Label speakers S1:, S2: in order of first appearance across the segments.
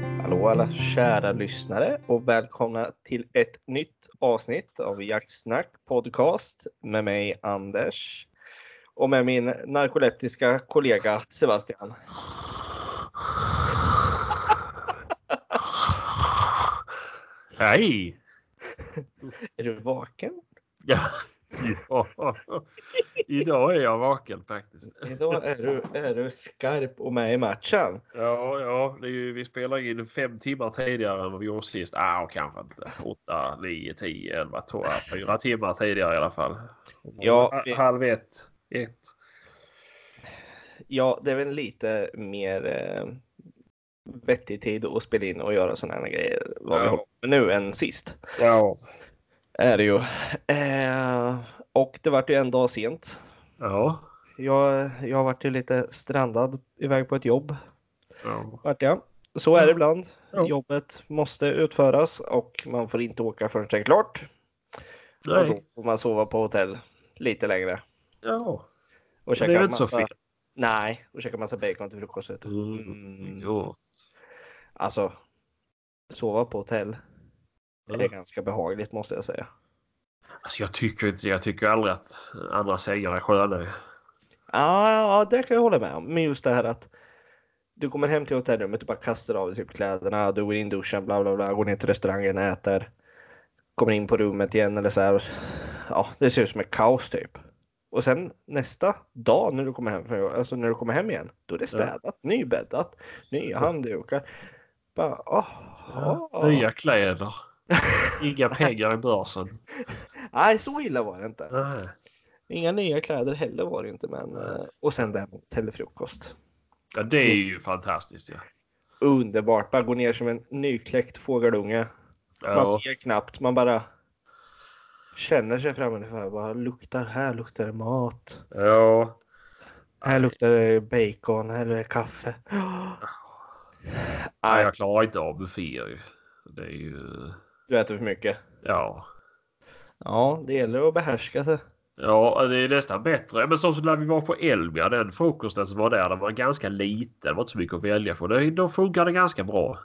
S1: Tjena kära lyssnare och välkomna till ett nytt avsnitt av Jaktsnack podcast med mig Anders och med min narkoleptiska kollega Sebastian.
S2: Hej!
S1: Är du vaken?
S2: Ja. ja. Idag är jag vaken faktiskt.
S1: Idag är du, är du skarp och med i matchen.
S2: Ja, ja, det är ju, vi spelar in fem timmar tidigare än vad vi gjorde sist. Ah, och kanske inte. 8, 9, 10, 11, 12, fyra timmar tidigare i alla fall.
S1: Ja,
S2: Ha- Halv ett, ett.
S1: Ja, det är väl lite mer eh, vettig tid att spela in och göra sådana här grejer vad vi
S2: Ja.
S1: håller på med nu än sist.
S2: Ja.
S1: Är det ju. Eh, och det vart ju en dag sent
S2: Ja.
S1: Jag, jag vart ju lite strandad iväg på ett jobb.
S2: ja.
S1: Vart jag. Så är det ibland.
S2: Mm. Ja.
S1: Jobbet måste utföras och man får inte åka förrän det är klart. Och då
S2: Nej.
S1: får man sova på hotell lite längre.
S2: Ja.
S1: Och
S2: Det är
S1: käka
S2: väl inte så
S1: massa,
S2: fel.
S1: Nej, och käka massa bacon till frukost. Vet du.
S2: Mm.
S1: Mm, alltså, sova på hotell är det
S2: Ja.
S1: ganska behagligt måste jag säga.
S2: Alltså, jag tycker inte Jag tycker aldrig att andra sängar är skönare.
S1: Ja, ja, det kan jag hålla med om. Men just det här att du kommer hem till hotellrummet och bara kastar av dig typ kläderna, du går in i duschen, bla bla bla, går ner till restaurangen, äter, kommer in på rummet igen eller så här. Ja, det ser ut som ett kaos typ. Och sen nästa dag när du kommer hem, från- alltså när du kommer hem igen, då är det städat, nybäddat, nya handdukar. Bara,
S2: Ja.
S1: aha.
S2: Nya kläder. Inga pengar i börsen.
S1: Nej, så illa var det inte.
S2: Nej.
S1: Inga nya kläder heller var det inte. Men, eh, och sen det här med hotellfrukost.
S2: Ja, det är ju fantastiskt. Ja.
S1: Underbart, bara gå ner som en nykläckt fågelunge. Man
S2: Ja.
S1: ser knappt, man bara känner sig fram ungefär. Bara luktar, här luktar det mat.
S2: ja.
S1: Här luktar det bacon, här luktar det kaffe.
S2: Nej,
S1: Nej,
S2: jag klarar inte av bufféer. ju. Det är ju...
S1: du äter för mycket.
S2: Ja.
S1: Ja, det gäller att behärska sig.
S2: Ja, det är nästan bättre. Men som så när vi var på Elmia, den frukosten som var där, den var ganska liten. Det var inte så mycket att välja på. Det, då funkade det ganska bra.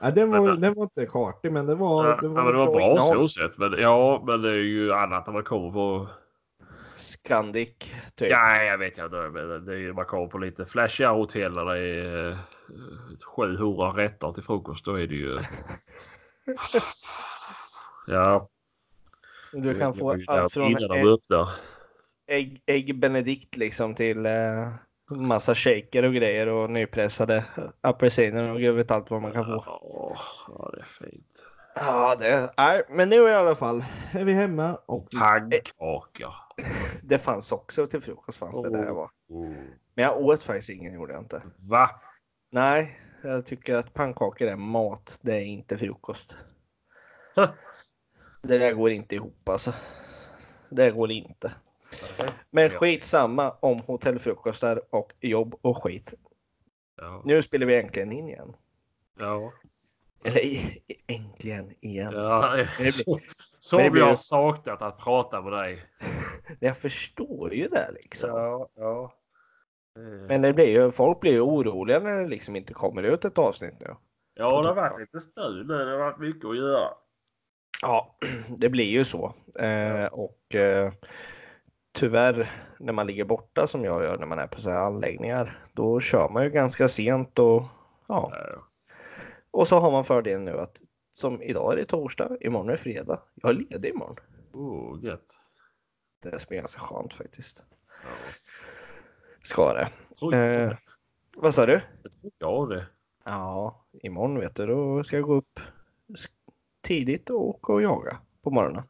S1: Ja, den,
S2: var-
S1: den var inte kartig, men det var,
S2: Ja, men det var bra så sett. Men, ja, men det är ju annat när man kommer på...
S1: Scandic, typ.
S2: Ja, jag vet inte. Men det är, ju- man kommer på lite flashiga hotell där det är eh, 700 rätter till frukost. Då är det ju... Ja.
S1: Du kan
S2: det
S1: få
S2: var ju där
S1: allt från
S2: Innan de
S1: ägg,
S2: öppnar.
S1: ägg, ägg benedict liksom till eh, massa shaker och grejer och nypressade apelsiner och gud vet allt vad man kan få.
S2: Ja, ja, det är fint.
S1: Ja, det, nej, men nu i alla fall är vi hemma och vi- Eh,
S2: Pannkaka.
S1: det fanns också till frukost fanns det där jag var.
S2: Mm.
S1: Men jag åt faktiskt ingen, gjorde jag inte.
S2: Va?
S1: Nej, jag tycker att pannkakor är mat, det är inte frukost.
S2: Huh.
S1: Det där går inte ihop alltså. Det går inte. Men
S2: Ja.
S1: skitsamma om hotellfrukostar och jobb och skit.
S2: Ja.
S1: Nu spelar vi äntligen in igen.
S2: Ja.
S1: Eller i- i- äntligen igen.
S2: ja.
S1: blir-
S2: Så, så
S1: det
S2: vi
S1: blir-
S2: har saknat att prata med dig.
S1: Jag förstår ju det liksom.
S2: Ja, ja. Men,
S1: Men det blir ju, folk blir ju oroliga när det liksom inte kommer ut ett avsnitt nu.
S2: ja, det har varit lite stul nu. Det har varit mycket att göra.
S1: Ja, det blir ju så. Eh, och eh, tyvärr, när man ligger borta som jag gör när man är på sådana här anläggningar, då kör man ju ganska sent och ja.
S2: Ja.
S1: Och så har man fördelen nu att som idag är det torsdag, imorgon är det fredag. Jag är ledig imorgon.
S2: Oh, gött.
S1: Det är som är ganska skönt faktiskt.
S2: Ja.
S1: Ska det.
S2: Jag tror
S1: Eh,
S2: inte-
S1: vad sa du?
S2: jag tror inte jag det.
S1: Ja, imorgon vet du, då ska jag gå upp s- tidigt och åka och jaga på morgonen.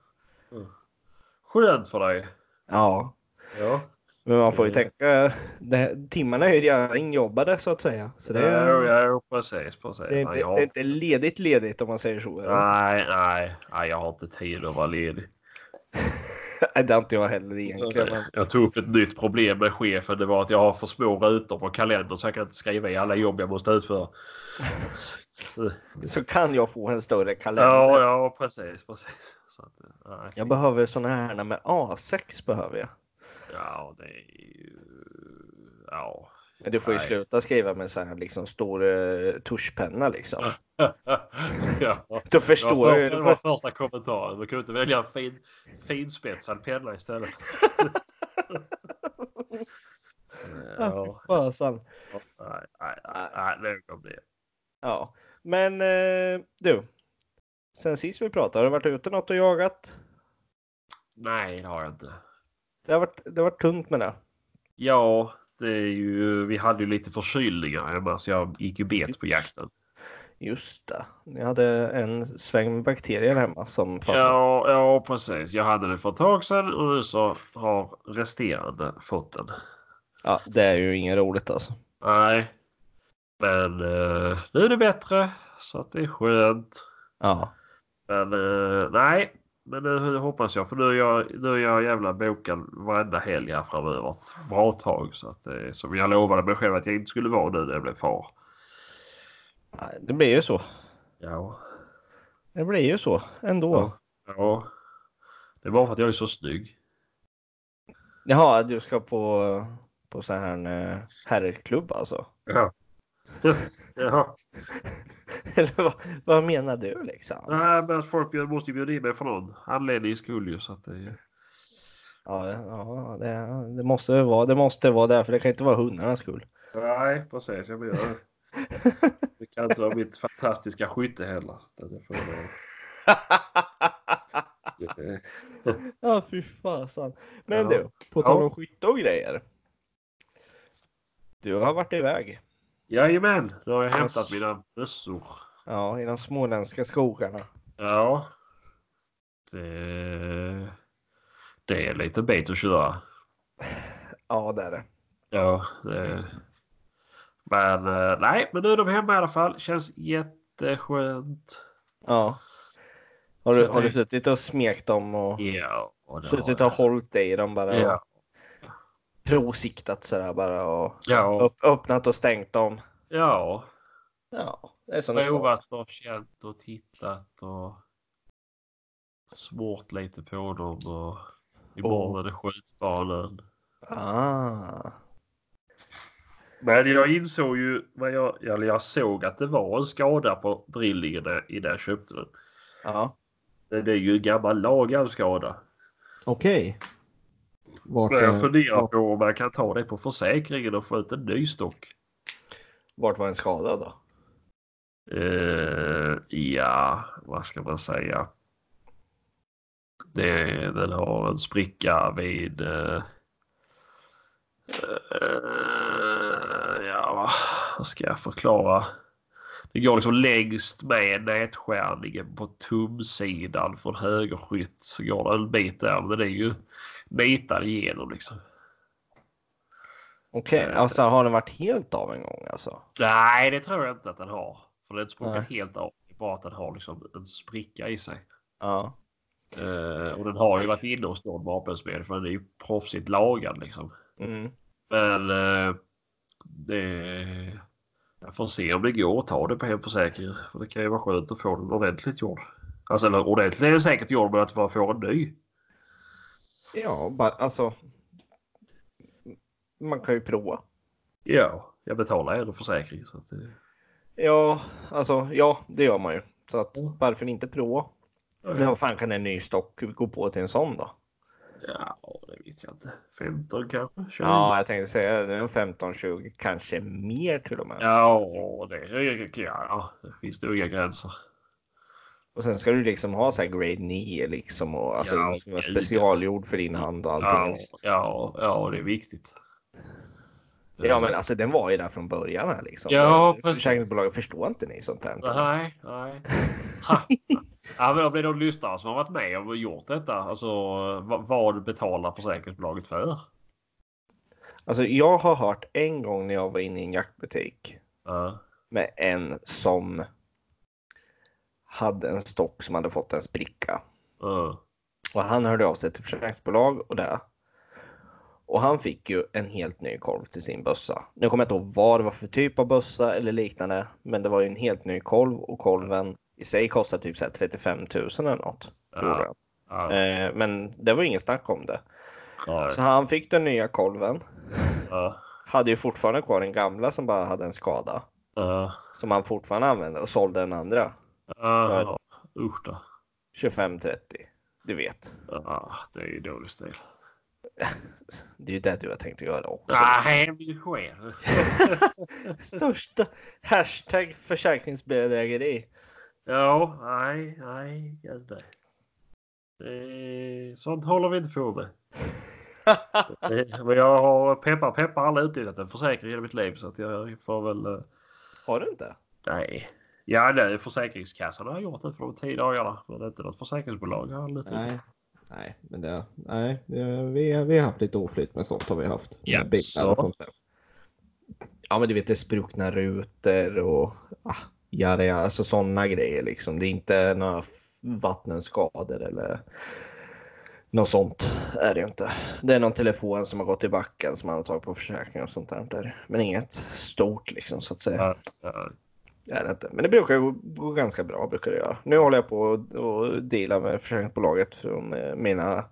S2: Skönt för dig.
S1: Ja,
S2: Ja.
S1: men man får ju
S2: Mm.
S1: tänka, det, timmarna är ju redan injobbade så att säga. Så det,
S2: Ja, ja, precis. precis.
S1: det, är inte,
S2: Nej, jag har
S1: det är inte ledigt ledigt om man säger så. Nej.
S2: Nej, nej, nej, jag har inte tid att vara ledig.
S1: Det har inte jag heller egentligen. Men,
S2: Jag tog upp ett nytt problem med chefen. Det var att jag har för små rutor på kalendern så jag kan inte skriva i alla jobb jag måste utföra.
S1: så kan jag få en större kalender.
S2: Ja, ja, precis, precis. Så att, nej.
S1: Jag behöver sådana här med A6 behöver jag.
S2: Ja, det är ju... Ja,
S1: Men du får ju
S2: Nej.
S1: sluta skriva med så här liksom stor uh, tuschpenna liksom.
S2: ja.
S1: Då
S2: Det
S1: förstår
S2: var,
S1: du.
S2: första, det
S1: ju-
S2: var första kommentaren. Man kunde inte välja en fin, finspetsad penna istället. ja,
S1: Ja, fy fasen.
S2: nej, nej, nej, nog om det.
S1: Ja, men eh, du. Sen sist vi pratade, har du varit ute något och jagat?
S2: Nej, det har jag inte.
S1: Det har varit, det har varit tungt med det.
S2: Ja, det är ju, vi hade ju lite förkylningar hemma så jag gick ju bet på jakten.
S1: Just det. Ni hade en sväng med bakterier hemma som fastnade.
S2: Ja, ja, precis. Jag hade det för ett tag sedan och nu så har resterande fått den.
S1: Ja, det är ju inget roligt alltså.
S2: Nej, men eh, nu är det bättre så att det är skönt.
S1: Ja.
S2: Men eh, nej, men nu hoppas jag för nu är jag, nu är jag jävla bokad varenda helg här framöver. Ett bra tag så att det är som jag lovade mig själv att jag inte skulle vara nu när jag blev far.
S1: Nej, Det blir ju så.
S2: Ja,
S1: Det blir ju så ändå.
S2: Ja. ja. Det är bara för att jag är så snygg.
S1: Jaha, du ska på, på så här en eh, herrklubb alltså?
S2: Ja. ja.
S1: Eller vad, vad menar du liksom?
S2: Nej, men folk bjud- måste ju bjuda in mig för någon anledning skulle ju så att eh, det...
S1: Ja, ja det, det måste väl vara det, måste vara det för det kan inte vara hundarnas skull.
S2: Nej, precis. Jag blir det. Det kan inte vara mitt fantastiska skytte heller. så att jag får det.
S1: Ja, fy fasen. Men
S2: Ja.
S1: du, på tal om skytte och grejer. Du har varit iväg.
S2: Jajamän, nu har jag hämtat
S1: Yes.
S2: mina bössor.
S1: Ja, i de småländska skogarna.
S2: Ja. Det... det är lite bit att köra.
S1: Ja, det är det.
S2: Ja. Det... Men eh, nej, men nu är de hemma i alla fall. Känns jätteskönt.
S1: Ja. Har du,
S2: Så
S1: har du
S2: det-
S1: suttit och smekt dem och
S2: Ja. och det har
S1: suttit och
S2: jag.
S1: hållit dig i dem bara? och
S2: Ja.
S1: Prosiktat sådär bara och
S2: Ja.
S1: Öpp- öppnat och stängt dem.
S2: ja.
S1: Ja, det är som det ska.
S2: provat och känt och tittat och smort lite på dem och imorgon är det skjutbanan.
S1: Ah.
S2: Men jag insåg ju, vad jag, eller jag såg att det var en skada på drillingen när- innan jag köpte den.
S1: Ja.
S2: Men Det är ju en gammal lagad skada.
S1: Okej. Vart,
S2: Men jag funderar
S1: vart,
S2: på om man kan ta det på försäkringen och få ut en ny stock.
S1: vart var den skadad då?
S2: Eh, ja, vad ska man säga? Det, den har en spricka vid... eh, eh, ja, vad- vad ska jag förklara? Det går liksom längst med nätskärningen på tumsidan från högerskytt. Så går det en bit där. Men den är ju nitad igenom liksom.
S1: Okej,
S2: Eh.
S1: alltså har den varit helt av en gång alltså?
S2: Nej, det tror jag inte att den har. För den sprungit
S1: Nej.
S2: helt av. Det är bara att den har liksom en spricka i sig.
S1: Ja.
S2: Eh, och den har ju varit inne hos någon vapenspel för den är ju proffsigt lagad liksom.
S1: Mm.
S2: Men eh, det... Jag får se om det går att ta det på hemförsäkringen. För det kan ju vara skönt att få den ordentligt gjord. Alltså eller ordentligt är det säkert gjord men att man får en ny.
S1: Ja, bara, alltså. Man kan ju prova.
S2: Ja, jag betalar ändå försäkring. Så att, eh,
S1: Ja, alltså ja, det gör man ju. Så att
S2: Mm.
S1: varför inte prova? Men vad fan kan en ny stock gå på till en sån då?
S2: Ja, det vet jag inte. 15 kanske? 20?
S1: Ja, jag tänkte säga det. 15-20, kanske mer till och med.
S2: Ja, det, ja, ja, det finns nog inga gränser.
S1: Och sen ska du liksom ha så här grade 9 liksom och alltså
S2: Ja,
S1: det ska vara
S2: gud.
S1: specialgjord för din hand och allting.
S2: Ja,
S1: visst.
S2: ja, ja, det är viktigt.
S1: Ja men alltså den var ju där från början här liksom.
S2: Ja,
S1: Eh,
S2: precis.
S1: Försäkringsbolagen förstår inte ni sånt här.
S2: Nej, nej. Ha. ja, men om det är någon lyssnare som har varit med och gjort detta, alltså vad, vad betalar försäkringsbolaget för?
S1: Alltså jag har hört en gång när jag var inne i en jaktbutik
S2: Ja,
S1: med en som hade en stock som hade fått en spricka.
S2: ja,
S1: Och han hörde av sig till försäkringsbolag och det. Och han fick ju en helt ny kolv till sin bössa. Nu kommer jag inte ihåg vad det var för typ av bössa eller liknande. Men det var ju en helt ny kolv och kolven i sig kostade typ så här 35 000 eller något. tror
S2: ja,
S1: jag.
S2: ja,
S1: Eh, Men det var ju ingen snack om det.
S2: ja,
S1: Så han fick den nya kolven.
S2: ja.
S1: hade ju fortfarande kvar den gamla som bara hade en skada.
S2: Uh,
S1: Som han fortfarande använde och sålde den andra.
S2: uh, usch då.
S1: 25-30. Du vet.
S2: Ja, det är ju dålig stil.
S1: Det är ju det du har tänkt att göra också.
S2: Nej, men det sker.
S1: Största hashtag försäkringsbedrägeri.
S2: Ja, nej, nej, just det. det. Sånt håller vi inte på med. Eh, Men jag har peppar peppar aldrig utnyttjat en försäkring hela mitt liv så att jag får väl... eh,
S1: Har du inte?
S2: Nej. Ja, det är Försäkringskassan har jag gjort det för de tio dagarna. Men det är inte något försäkringsbolag jag har aldrig utnyttjat.
S1: Nej, men det, nej, det- vi, vi har haft lite oflyt med sånt har vi haft.
S2: Ja,
S1: Med bilar
S2: så.
S1: och sånt där. Ja, men du vet det är spruckna rutor och ah, jada, jada, alltså sådana grejer liksom. Det är inte några vattenskador eller något sånt är det ju inte. Det är någon telefon som har gått i backen som man har tagit på försäkring och sånt där. där. Men inget stort liksom så att säga.
S2: Ja, ja.
S1: Det är det inte. Men det brukar gå, gå ganska bra. Brukar det göra. Nu håller jag på och, och dealar med försäkringsbolaget från eh, mina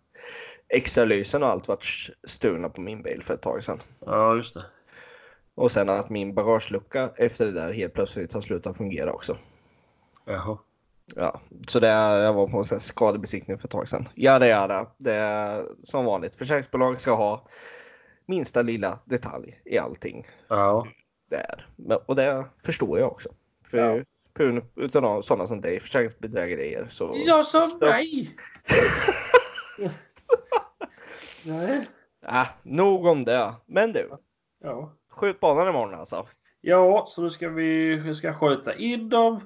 S1: extra lysen och allt vart stulna på min bil för ett tag sedan.
S2: ja, just det.
S1: Och sen att min bagagelucka efter det där helt plötsligt har slutat fungera också.
S2: Jaha.
S1: Ja, så det, jag var på en sån här skadebesiktning för ett tag sedan. Ja, det är det. det är som vanligt. Försäkringsbolag ska ha minsta lilla detalj i allting.
S2: Ja.
S1: det är. Men- Och det förstår jag också. För
S2: Ja.
S1: på grund utav sådana som dig, försäkringsbedrägerier, så...
S2: som
S1: Så-
S2: mig! nej.
S1: Äh, nog om det. Men du,
S2: Ja.
S1: skjut banan imorgon alltså.
S2: Ja, så nu ska vi, vi ska sköta in dem.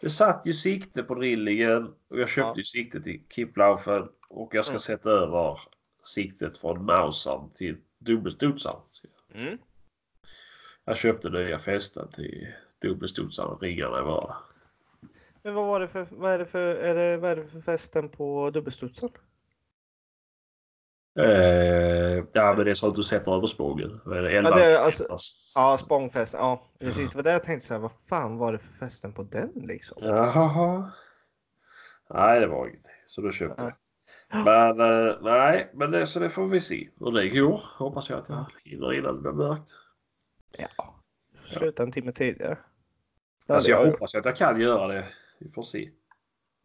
S2: Det satt ju sikte på drillingen och jag köpte
S1: Ja.
S2: ju sikte till Kipplaufen och jag ska
S1: Mm.
S2: sätta över siktet från Mausan till dubbelstotsan.
S1: Mm.
S2: Jag köpte nya fästen till dubbelstotsan och riggarna i vardag.
S1: Men vad var det för, vad är det för, är det, vad är det för festen på dubbelstudsen?
S2: Eh, ja, men det är så att du sätter över spången. Vad är det?
S1: Ja, det är alltså- Ja,
S2: Ja,
S1: Spångfesten. Ja, precis. Det var det jag tänkte så här, vad fan var det för festen på den liksom?
S2: Jaha. Nej, det var inget. Så då köpte jag.
S1: Ja.
S2: Men eh, nej, men det, så det får vi se hur det går. Hoppas jag att jag hinner innan det blir mörkt.
S1: Ja. Sluta en timme tidigare. Det,
S2: Alltså
S1: hade jag
S2: jag
S1: gjort.
S2: hoppas att jag kan göra det. Vi får se.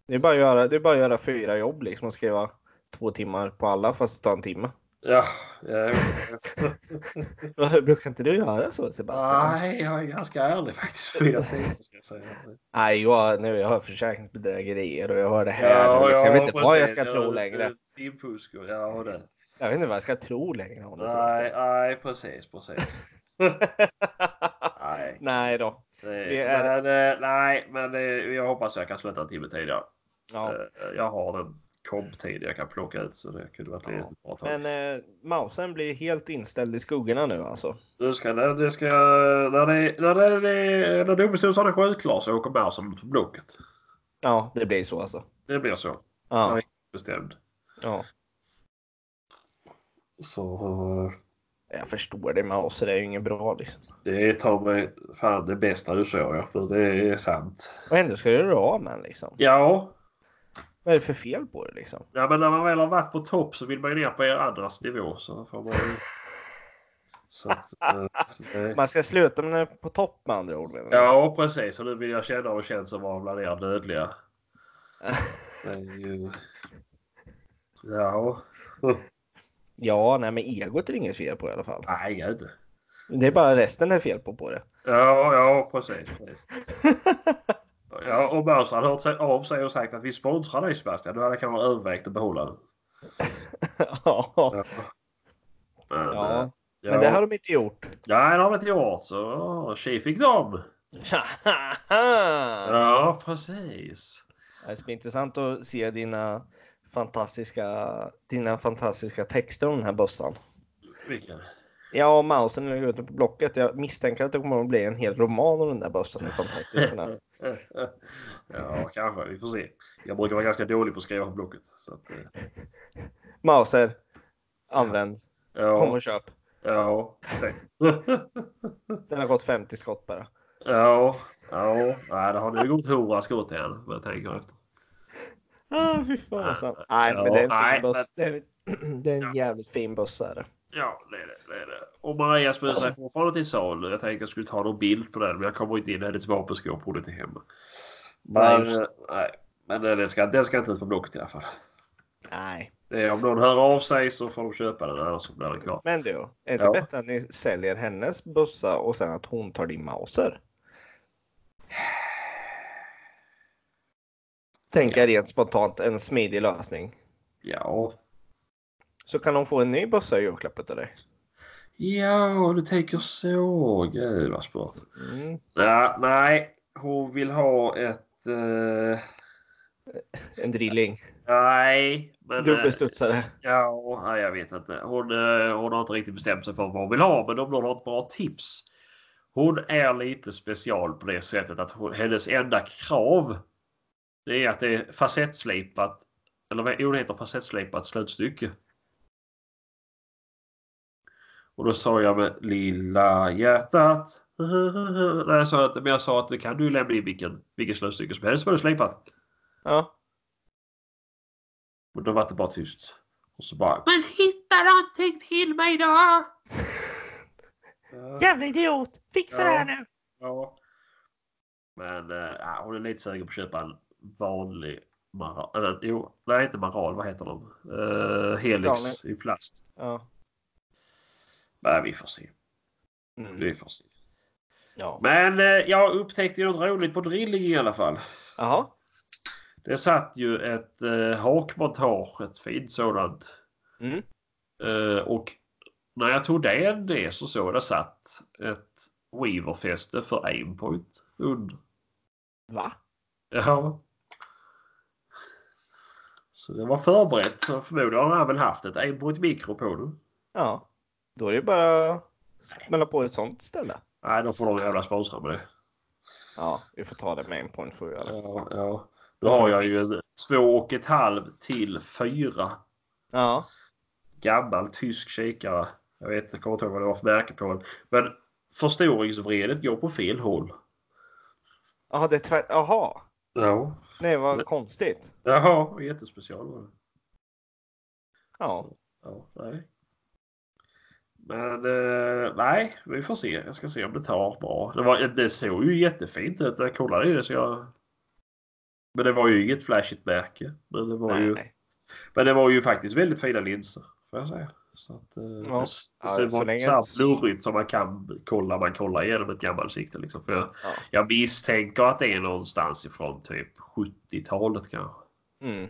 S1: det, är bara att göra, det är bara att göra fyra jobb liksom och skriva två timmar på alla fast ta en timme.
S2: Ja, eh, jag,
S1: Brukar inte du göra så Sebastian?
S2: nej, jag är ganska ärlig faktiskt. Fyra timmar ska jag säga.
S1: Nej, jag, nu jag hör försäkringsbedrägerier och jag hör det här. nu, liksom. jag vet inte vad jag ska tro längre.
S2: Timpusk och ja, och det.
S1: Jag vet inte vad jag ska tro längre om det
S2: Nej,
S1: Sebastian.
S2: nej, precis, precis. Nej,
S1: Nej då.
S2: det,
S1: Vi är-
S2: men, eh, nej, men eh, jag hoppas jag kan sluta en timme tidigare.
S1: Ja.
S2: Eh, Jag har en komptid jag kan plocka ut så det kunde varit
S1: Ja.
S2: ett bra tag.
S1: Men eh, mausen blir helt inställd i skuggorna nu alltså.
S2: Nu ska, när, det ska, när, det, när, det, när, när domstolen är sjukklar så åker Mersen på Blocket.
S1: Ja, det blir så alltså.
S2: Det blir så
S1: Ja,
S2: Nej. bestämd.
S1: ja.
S2: Så eh,
S1: Jag förstår det. Maus det är ju inget bra liksom.
S2: det tar mig fan det bästa du sa jag för det är sant.
S1: Och ändå ska du göra av med den, liksom.
S2: Ja,
S1: Vad är det för fel på det liksom?
S2: ja, men när man väl har varit på topp så vill man ju ner på er andras nivå. Så får man ju... Så att, eh, det...
S1: Man ska sluta med den på topp med andra ord. menar du?
S2: Ja, precis. Och nu vill jag känna och känna som var bland er dödliga. Det är ju... Ja.
S1: Ja, nej men egot är inget fel på i alla fall.
S2: Nej, gud.
S1: Det är bara resten det är fel på på det.
S2: Ja, ja, precis. precis. Ja, och Börs hade hört sig av sig och sagt att vi sponsrar dig Sebastian. Du hade kanske övervägt att behålla den.
S1: ja.
S2: Ja. Men, eh,
S1: Ja,
S2: ja.
S1: men det har de inte gjort.
S2: Nej, det har vi inte gjort. Så tji fick dem.
S1: det
S2: Ja, precis.
S1: ska bli intressant att se dina fantastiska, dina fantastiska texter om den här bössan.
S2: Vilken?
S1: Ja, Mausen ligger ute på Blocket. Jag misstänker att det kommer att bli en hel roman om den där bössan. Hur fantastisk den är.
S2: Ja, kanske. Vi får se. Jag brukar vara ganska dålig på att skriva på Blocket. Så att, eh,
S1: Mauser, använd. Kom
S2: ja,
S1: och köp.
S2: ja, precis.
S1: Den har gått 50 skott bara.
S2: ja, ja. Nej, det har nog gått hurra skott igen. Vad jag tänker efter.
S1: Ah, fy fasen. Nej, men det är en
S2: nej,
S1: fin buss. Det är, det är en jävligt fin buss är det.
S2: Ja, det är det. det, är det. Och Marias bössa är fortfarande till salu. Jag tänkte att jag skulle ta någon bild på den, men jag kommer inte in. Hennes vapenskåp borde inte hemma.
S1: Nej,
S2: Men,
S1: just
S2: nej, men den, ska, den ska inte ut på Blocket i alla fall.
S1: Nej.
S2: Det är, om någon hör av sig så får de köpa den, annars så blir den kvar.
S1: Men du, är inte
S2: Ja.
S1: bättre att ni säljer hennes bussa och sen att hon tar din Mauser? Tänker jag rent spontant en smidig lösning.
S2: Ja,
S1: Så kan hon få en ny bussa i julklapp utav dig.
S2: ja du tänker så. Gud vad smart.
S1: Mm.
S2: Ja, nej, hon vill ha ett... eh,
S1: En drilling.
S2: nej, men... eh,
S1: Dubbelstudsare.
S2: Ja, och- nej, jag vet inte. Hon, eh, hon har inte riktigt bestämt sig för vad hon vill ha, men om någon har ett bra tips. Hon är lite special på det sättet att hon, hennes enda krav det är att det är facettslipad, eller vad jo, det heter facettslipad slutstycke. Och då sa jag med lilla hjärtat. Nej, jag sa att, men jag sa att det kan du lämna in vilken, vilken slutstycke som helst som är slipat.
S1: Ja.
S2: Och då var det bara tyst. Och så bara. Men hitta någonting till mig då!
S1: Jävla idiot! Fixa
S2: det här
S1: nu!
S2: Ja. Men eh, ja, hon är lite sugen på att köpa en vanlig maral. Eller, jo, nej inte maral. Vad heter de? Uh, helix i plast.
S1: Ja.
S2: Nej, vi får se.
S1: Mm.
S2: Vi får se.
S1: ja.
S2: Men eh, jag upptäckte ju något roligt på drilling i alla fall.
S1: Jaha.
S2: Det satt ju ett eh, hakmontage, ett fint sådant.
S1: Mm.
S2: Eh, och när jag tog den det så såg jag det satt ett Weaver-fäste för aimpoint under.
S1: Va?
S2: Ja. Så det var förberett. Så förmodligen har han väl haft ett aimpoint mikro på den.
S1: Ja. Då är det bara att smälla på ett sånt ställe.
S2: Nej, då får de jävla sponsra med det.
S1: Ja, vi får ta det med en point får vi göra.
S2: Ja, ja. Då har jag ju en två och ett halv till fyra
S1: Ja.
S2: gammal tysk kikare. Jag vet inte, jag kommer inte ihåg vad det var för märke på den. Men förstoringsvredet går på fel håll.
S1: Jaha, det är tvärt... Jaha.
S2: Ja.
S1: Nej, vad
S2: Men-
S1: konstigt.
S2: Jaha, jättespecial var det.
S1: Ja.
S2: Så, ja nej. Men eh, nej, vi får se. Jag ska se om det tar bra. Det, var, det såg ju jättefint ut när jag kollade i det. Så jag... Men det var ju inget flashigt märke. Men det var,
S1: Nej.
S2: ju, men det var ju faktiskt väldigt fina linser. Får jag säga. Så att, eh,
S1: Ja.
S2: det, det
S1: Ja,
S2: var
S1: så länge-
S2: så här blurrigt som man kan kolla. Man kollar igenom ett gammalt sikte. Liksom. För jag,
S1: Ja.
S2: jag misstänker att det är någonstans ifrån typ 70-talet kanske.
S1: Mm.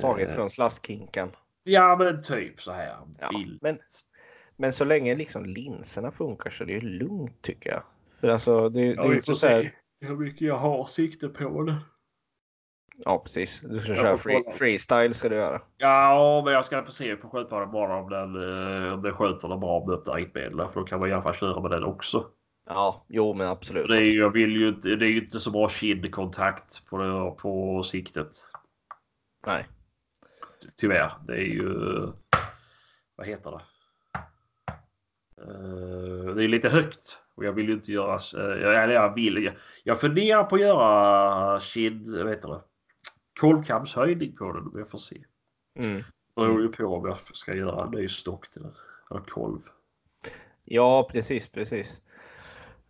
S1: Taget
S2: Eh,
S1: från slaskhinkan.
S2: Ja men typ så här.
S1: Ja.
S2: Bild.
S1: Men, men så länge liksom linserna funkar så är det ju lugnt tycker jag. För alltså, det, det är ju inte så här...
S2: hur mycket jag har sikte på det.
S1: Ja, precis. Du ska
S2: Jag
S1: köra
S2: får
S1: free,
S2: kolla.
S1: freestyle ska du göra.
S2: Ja, men jag ska få se på skötbanan bara om den, eh, om den sköter den bra med öppna riktmedel. För då kan man i alla fall köra med den också.
S1: Ja, jo men
S2: För
S1: absolut.
S2: Det är, ju- jag vill ju, inte- det är ju inte så bra kindkontakt på, det, på siktet.
S1: Nej.
S2: Tyvärr. Det är ju... eh, Vad heter det? Eh, Det är lite högt. Och jag vill ju inte göra... s- eh, Jag, eller jag, vill, jag, jag funderar på att göra kind... Vad heter det? Kolvkamshöjning på den. Men jag får se.
S1: Mm.
S2: beror ju på om jag ska göra en ny stock till den. Eller kolv.
S1: Ja, precis, precis.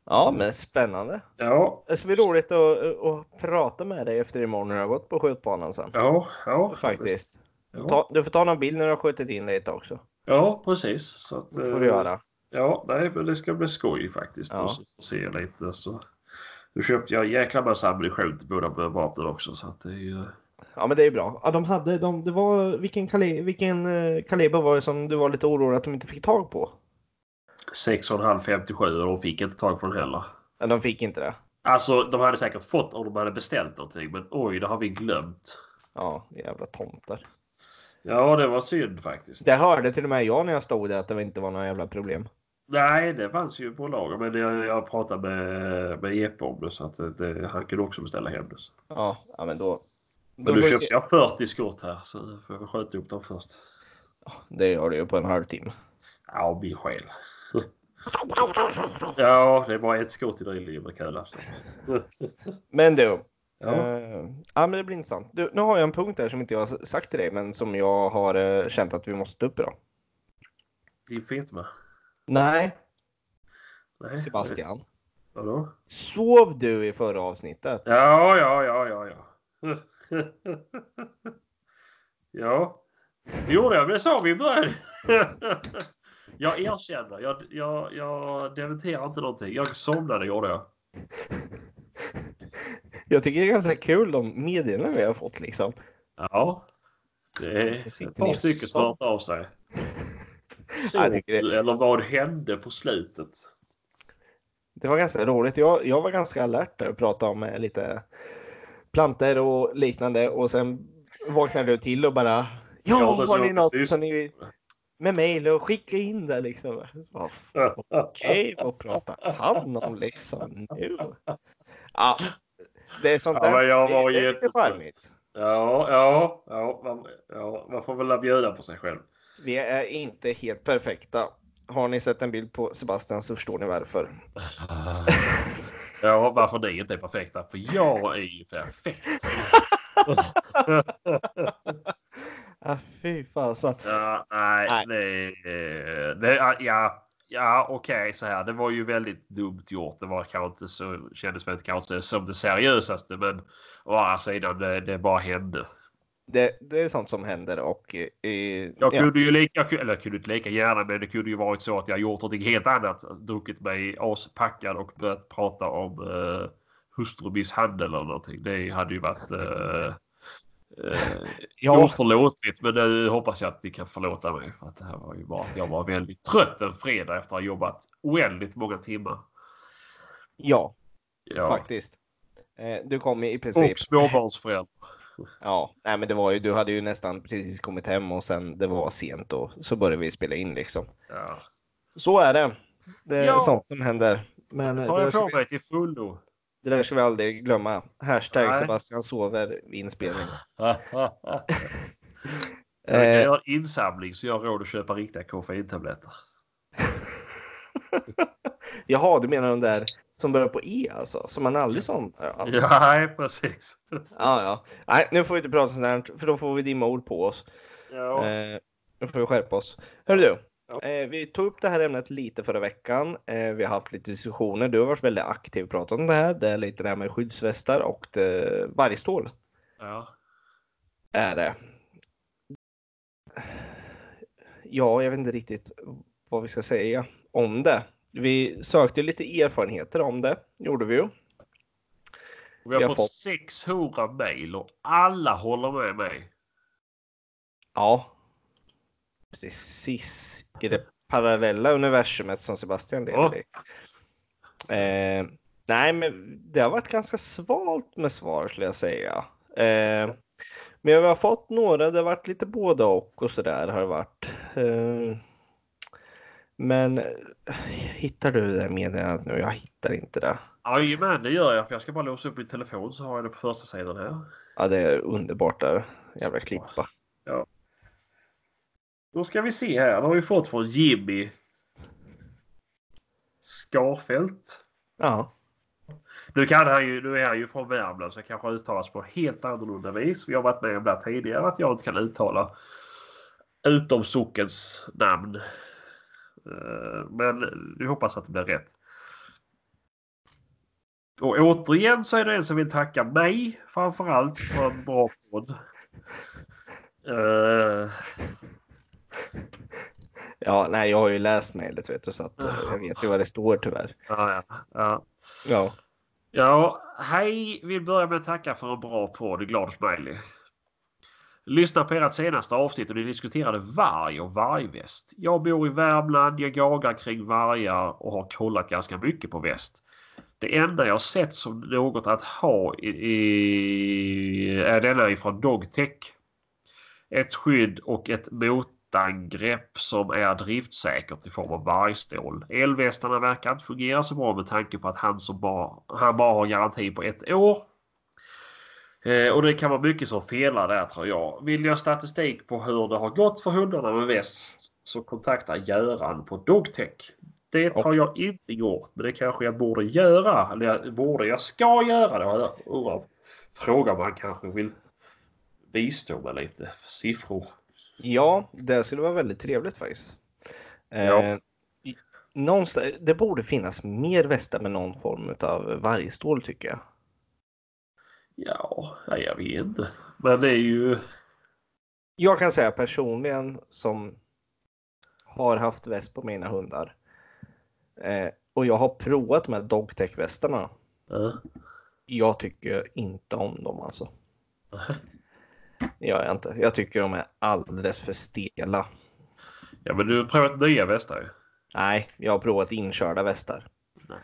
S1: Ja, men spännande.
S2: Ja,
S1: Det ska bli roligt att, att prata med dig efter imorgon när du har gått på skjutbanan sen.
S2: ja, ja.
S1: Faktiskt.
S2: Ja,
S1: Ta, du får ta någon bild när du har skjutit in lite också.
S2: ja precis. Så att,
S1: Det får
S2: eh,
S1: du göra.
S2: Ja, nej, men det ska bli skoj faktiskt.
S1: Ja.
S2: Och så får se lite. Så. Nu köpte jag en jäkla massa ammunition till båda vapnen också. Så att det är ju...
S1: Ja men det är bra. Ja, de hade, de, det var, vilken, kali, vilken eh, kaliber var det som du var lite orolig att de inte fick tag på?
S2: 6,5-57 och de fick inte tag på den heller.
S1: Ja, de fick inte det.
S2: Alltså, de hade säkert fått om de hade beställt någonting. Men oj, det har vi glömt.
S1: Ja, jävla tomtar.
S2: Ja, det var synd faktiskt.
S1: Det hörde till och med jag när jag stod där att det inte var några jävla problem.
S2: Nej, det fanns ju på lager. Men jag, jag pratade med, med Jeppe om det så att det, det, han kunde också beställa hem det.
S1: Ja, ja men då. då
S2: Men nu
S1: får vi
S2: köpte
S1: se.
S2: jag 40 skott här så jag får jag skjuta upp dem först.
S1: Det gör du ju på en halvtimme.
S2: Ja, min själ. Ja, det är bara ett skott i drillingen med kulafton.
S1: Men du.
S2: Ja.
S1: Eh, ja men det blir intressant. Du, nu har jag en punkt här som inte jag har sagt till dig men som jag har eh, känt att vi måste ta upp idag.
S2: Riff är inte med.
S1: Nej,
S2: Nej.
S1: Sebastian.
S2: Vadå?
S1: Sov du i förra avsnittet?
S2: Ja, ja, ja, ja, ja. ja. Det gjorde jag, men det sa vi i början. jag erkänner. Jag, jag, jag dementerar inte någonting. Jag somnade gjorde jag.
S1: Jag tycker det är ganska kul de meddelanden vi har fått liksom.
S2: Ja. Det är ett par stycken som har hört av sig.
S1: Ja,
S2: Såg
S1: jag tycker
S2: du, eller vad hände på slutet?
S1: Det var ganska roligt. Jag, jag var ganska alert där och pratade om eh, lite planter och liknande och sen vaknade du till och bara Ja,
S2: Ja, men så
S1: har ni
S2: var
S1: något
S2: precis-
S1: som ni vill med mejl och skicka in det liksom. Så bara, Okej, vad pratar han om liksom nu? Ja, det är sånt
S2: Ja,
S1: där.
S2: men jag var
S1: det, det är lite
S2: jätte-
S1: charmigt.
S2: Ja, ja, ja, man, ja, man får väl bjuda på sig själv.
S1: Vi är inte helt perfekta. Har ni sett en bild på Sebastian så förstår ni varför.
S2: Ja, varför ni inte är perfekta. För jag är ju perfekt.
S1: Ah, fy fasen.
S2: Ja, nej,
S1: Nej.
S2: Det, eh, det, ja, ja, ja okej så här. Det var ju väldigt dumt gjort. Det var kanske inte så, kändes väl inte kanske som det seriösaste. Men å andra sidan, det, det bara hände.
S1: Det, det är sånt som händer och eh, eh,
S2: Jag
S1: ja,
S2: kunde ju lika, jag kunde- eller jag kunde inte lika gärna, men det kunde ju varit så att jag gjort någonting helt annat. Druckit mig aspackad och börjat prata om uh, hustrumisshandel eller någonting. Det hade ju varit eh, eh,
S1: ja,
S2: oförlåtligt. Men nu hoppas jag att ni kan förlåta mig. För att det här var ju bara att jag var väldigt trött en fredag efter att ha jobbat oändligt många timmar.
S1: ja,
S2: Ja.
S1: faktiskt. Eh, du kom i princip.
S2: Och småbarnsförälder.
S1: Ja, nej, men det var ju, du hade ju nästan precis kommit hem och sen det var sent och så började vi spela in liksom.
S2: Ja.
S1: Så är det. Det är
S2: Ja.
S1: sånt som händer. Men eh, det
S2: Tar
S1: där,
S2: jag
S1: ska
S2: på
S1: vi,
S2: mig till fullo.
S1: det där ska vi aldrig glömma. Hashtag
S2: Nej.
S1: Sebastian sover inspelning.
S2: Jag
S1: Eh,
S2: gör insamling så jag har råd att köpa riktiga koffeintabletter.
S1: jaha, du menar de där som börjar på E alltså? Som man aldrig som? Ja, ja.
S2: Ja, nej, precis.
S1: ja. Nej, nu får vi inte prata sånt här för då får vi dimma ord på oss.
S2: Ja.
S1: Eh, då får vi skärpa oss. Hörru du.
S2: Ja.
S1: Eh, vi tog upp det här ämnet lite förra veckan. Eh, vi har haft lite diskussioner. Du har varit väldigt aktiv och pratat om det här. Det är lite det här med skyddsvästar och det, vargstål
S2: Ja.
S1: är det. Ja, jag vet inte riktigt vad vi ska säga om det. Vi sökte lite erfarenheter om det, gjorde vi ju.
S2: Vi har,
S1: Vi har
S2: fått,
S1: fått-
S2: 600 mejl och alla håller med mig.
S1: Ja. Precis i det parallella universumet som Sebastian lever
S2: Ja.
S1: i. Eh, nej, men det har varit ganska svalt med svar skulle jag säga. Eh, men jag har fått några, det har varit lite både och och sådär har det varit. Eh, men eh, hittar du det meddelandet nu? Jag hittar inte det.
S2: Jajamän, det gör jag. För jag ska bara låsa upp min telefon så har jag det på första sidan här.
S1: Ja, det är underbart där. Jävla klippa.
S2: Då ska vi se här. Vad har vi fått från Jimmy Skarfält.
S1: Ja,
S2: Nu, kan han ju, nu är han ju från Värmland så det kanske uttalas på helt annorlunda vis. Vi har varit med om det här tidigare att jag inte kan uttala utom sockens namn. Eh, Men vi hoppas att det blir rätt. Och återigen så är det en som vill tacka mig framförallt för en bra podd. Eh,
S1: ja nej, jag har ju läst mejlet vet du så att eh, jag vet ju vad det står tyvärr.
S2: ja, ja, ja.
S1: Ja.
S2: Ja, hej! Vill börja med att tacka för en bra podd. Glad smiley. Lyssna på ert senaste avsnitt och ni diskuterade varg och vargväst. Jag bor i Värmland, jag jagar kring vargar och har kollat ganska mycket på väst. Det enda jag sett som något att ha i, i, är denna ifrån Dogtech. Ett skydd och ett motangrepp som är driftsäkert i form av vargstål. Elvästarna verkar inte fungera så bra med tanke på att han, som bara, han bara har garanti på ett år. Eh, och det kan vara mycket som felar där tror jag. Vill jag statistik på hur det har gått för hundarna med väst så kontakta Göran på Dogtech. Det har jag inte gjort men det kanske jag borde göra. Eller jag borde, jag ska göra det. har Jag undrar- frågar om han kanske vill bistå med lite siffror.
S1: Ja, det skulle vara väldigt trevligt faktiskt.
S2: Ja.
S1: Eh, i- någonstans, det borde finnas mer västar med någon form av vargstål tycker jag.
S2: Ja, nej, jag vet inte. Men det är ju...
S1: Jag kan säga personligen som har haft väst på mina hundar. Eh, och jag har provat med dogtech västarna.
S2: eh,
S1: Jag tycker inte om dem alltså. Det gör jag inte. Jag tycker de är alldeles för stela.
S2: Ja, men du har provat nya västar ju.
S1: Nej, jag har provat inkörda västar.
S2: Nej.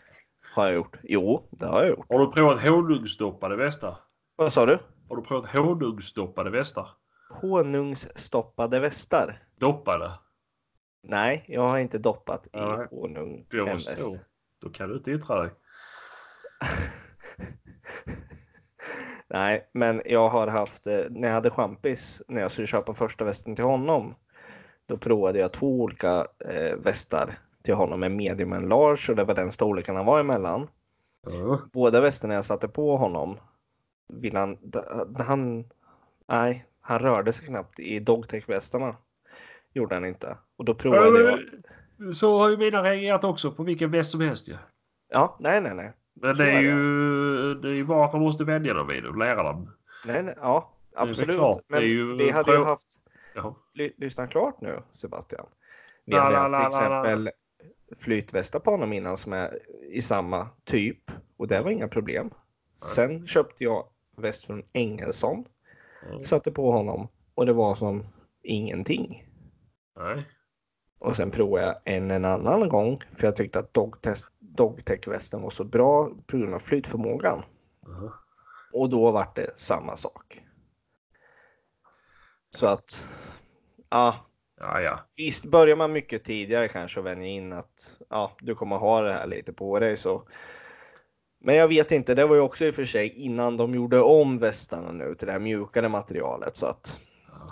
S1: Har jag gjort? Jo, det har jag gjort.
S2: Har du provat honungsdoppade västar?
S1: Vad sa du?
S2: Har du provat honungsdoppade västar?
S1: Honungsstoppade västar.
S2: Doppade?
S1: Nej, jag har inte doppat i
S2: Nej.
S1: honung.
S2: Det var
S1: än dess.
S2: så. Då kan du inte yttra dig.
S1: Nej, men jag har haft, eh, när jag hade champis, när jag skulle köpa första västen till honom, då provade jag två olika eh, västar till honom, en medium och en large och det var den storleken han var emellan.
S2: Ja.
S1: Båda västarna jag satte på honom, ville han, d- han, nej, han rörde sig knappt i dogtech-västarna. Gjorde han inte. Och då provade jag.
S2: Så har ju mina reagerat också på vilken väst som helst ju.
S1: Ja, nej, nej, nej.
S2: Men
S1: Så
S2: det är
S1: är det.
S2: ju, det är ju bara att man måste vänja dem vid det och lära dem.
S1: nej, nej ja,
S2: är väl
S1: absolut.
S2: klart, det
S1: Men
S2: är ju-
S1: vi hade ju
S2: pröv-
S1: haft
S2: Ja.
S1: Ly- lyssna klart nu Sebastian. Vi
S2: La,
S1: hade
S2: la,
S1: haft
S2: la,
S1: till
S2: la, la.
S1: exempel flytvästar på honom innan som är i samma typ och det var inga problem. Sen köpte jag väst från Engelsson,
S2: Ja.
S1: satte på honom och det var som ingenting.
S2: Nej.
S1: Och sen provade jag en, en annan gång för jag tyckte att dogtest- dogtech-västen var så bra på grund av flytförmågan.
S2: Ja.
S1: Och då vart det samma sak. Så att, ja.
S2: Ja, ja.
S1: Visst, börjar man mycket tidigare kanske och vänjer in att ja, du kommer ha det här lite på dig så. Men jag vet inte, det var ju också i och för sig innan de gjorde om västarna nu till det här mjukare materialet så att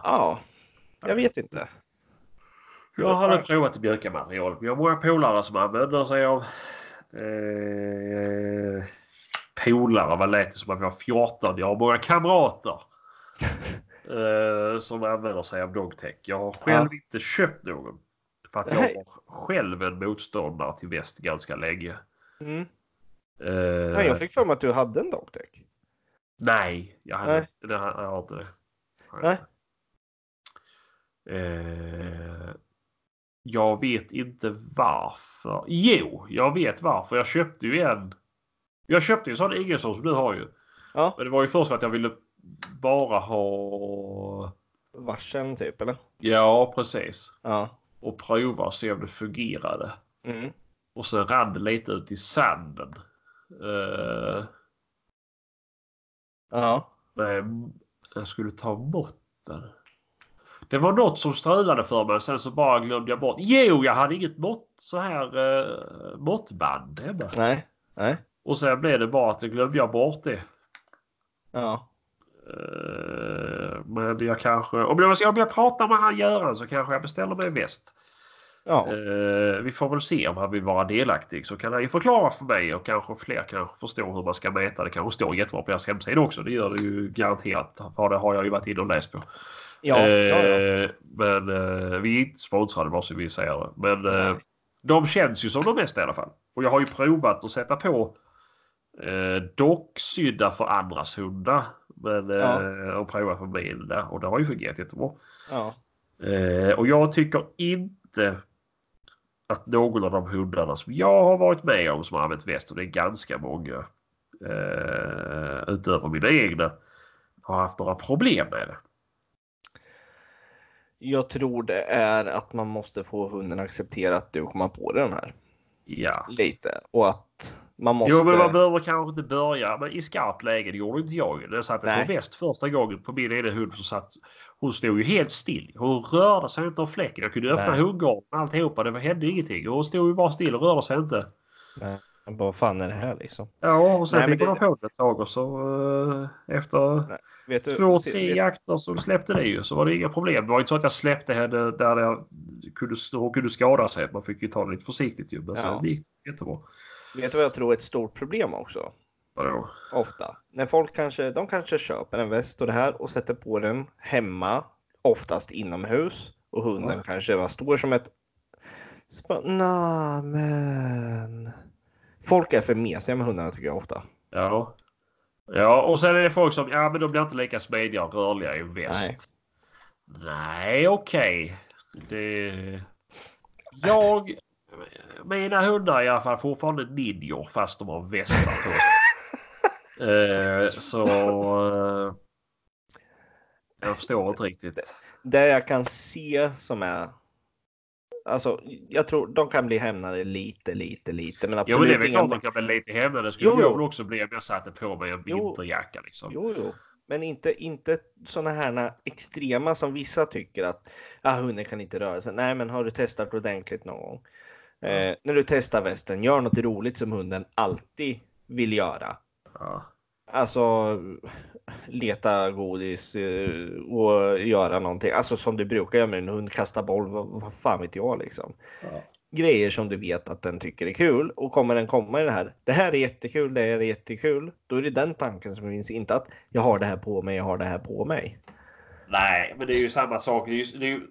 S1: ja, jag vet inte.
S2: Jag hade provat björkamaterialet. Vi har många polare som använder sig av eh, polare. Vad lät det som att vi har 14? Jag har många kamrater eh, som använder sig av dogtech. Jag har själv inte köpt någon. För att jag
S1: Nej.
S2: var själv en motståndare till väst ganska länge.
S1: Mm.
S2: Eh,
S1: Fan, jag fick för mig att du hade en dogtech.
S2: Nej, jag hade
S1: Nej.
S2: inte- det. har- Jag har inte det. Har jag
S1: Nej.
S2: inte. Eh, jag vet inte varför. Jo, jag vet varför. Jag köpte ju en. Jag köpte ju en sån Ingesson som du har ju.
S1: Ja,
S2: Men det var ju först för att jag ville bara ha.
S1: varseln typ eller?
S2: Ja, precis.
S1: Ja.
S2: Och prova och se om det fungerade.
S1: Mm.
S2: Och så rann det lite ut i sanden. Eh,
S1: Ja.
S2: Nej, Ehm, jag skulle ta bort den. Det var något som strulade för mig sen så bara glömde jag bort. Jo, jag hade inget mått, så här eh, måttband hemma.
S1: Nej. Nej.
S2: Och sen blev det bara att jag glömde jag bort det.
S1: Ja.
S2: Eh, men jag kanske, om jag, om jag pratar med han Göran så kanske jag beställer mig en väst.
S1: Ja.
S2: Eh, vi får väl se om han vill vara delaktig så kan han ju förklara för mig och kanske fler kanske förstår hur man ska mäta. Det kanske står jättebra på deras hemsida också. Det gör det ju garanterat. För det har jag ju varit inne och läst på.
S1: Ja. ja, ja.
S2: Eh, Men eh, vi är inte sponsrade bara så vi säger det. Men eh,
S1: Nej.
S2: de känns ju som de bästa i alla fall. Och jag har ju provat att sätta på eh, docksydda för andras hundar. Men,
S1: Ja.
S2: eh, och prova för min där. Och det har ju fungerat jättebra.
S1: ja.
S2: Eh, och jag tycker inte att någon av de hundarna som jag har varit med om som har använt väst, och det är ganska många eh, utöver mina egna, har haft några problem med det.
S1: Jag tror det är att man måste få hunden acceptera att du kommer på den här.
S2: Ja.
S1: lite och att man måste.
S2: Jo, men man behöver kanske inte börja men i skarpt läge. Det gjorde inte jag. ju. När jag satte
S1: Nej.
S2: på väst första gången på min ena hund så satt hon stod ju helt still. Hon rörde sig inte av fläcken. Jag kunde öppna
S1: Nej.
S2: hundgården och alltihopa. Det hände ingenting. Hon stod ju bara still och rörde sig inte.
S1: Men Vad fan är det här liksom?
S2: Ja, och sen
S1: Nej, men
S2: fick man
S1: det-
S2: på det ett tag och så eh, efter
S1: Vet du,
S2: två,
S1: se-
S2: tre
S1: vet-
S2: jakter så släppte det ju. Så var det inga problem. Det var inte så att jag släppte henne där jag kunde, hon kunde skada sig. Man fick ju ta det lite försiktigt ju. Men
S1: Ja.
S2: sen gick det jättebra.
S1: vet du vad jag tror är ett stort problem också?
S2: Vadå?
S1: Ofta. När folk kanske, de kanske köper en väst och det här och sätter på den hemma, oftast inomhus och hunden
S2: Ja.
S1: kanske bara står som ett Så bara, "Nå, men... Folk är för mesiga med hundarna tycker jag ofta.
S2: Ja. Ja, och sen är det folk som, ja men de blir inte lika smidiga och rörliga i väst. Nej, okej. Det... Jag... Mina hundar är i alla fall fortfarande ninjor fast de har västar på sig. eh, så... Eh, jag förstår inte riktigt.
S1: Det jag kan se som är... Alltså, jag tror de kan bli hämnade lite, lite, lite. Men
S2: Jo
S1: absolut
S2: men det är väl
S1: inga
S2: klart att jag blir lite hemma. Det skulle
S1: Jo,
S2: jag
S1: jo.
S2: väl också bli om jag satte på mig en
S1: Jo.
S2: vinterjacka liksom.
S1: Jo, jo. Men inte, inte sådana här extrema som vissa tycker att ah, hunden kan inte röra sig. Nej, men har du testat ordentligt någon gång? Eh, när du testar västen, gör något roligt som hunden alltid vill göra.
S2: Ja.
S1: Alltså leta godis eh, och göra någonting. Alltså som du brukar göra med en hund, kasta boll, vad, vad fan vet jag liksom.
S2: Ja.
S1: Grejer som du vet att den tycker är kul och kommer den komma i det här. Det här är jättekul, det här är jättekul. Då är det den tanken som finns, inte att jag har det här på mig, jag har det här på mig.
S2: Nej, men det är ju samma sak. Det, är ju, det, är ju,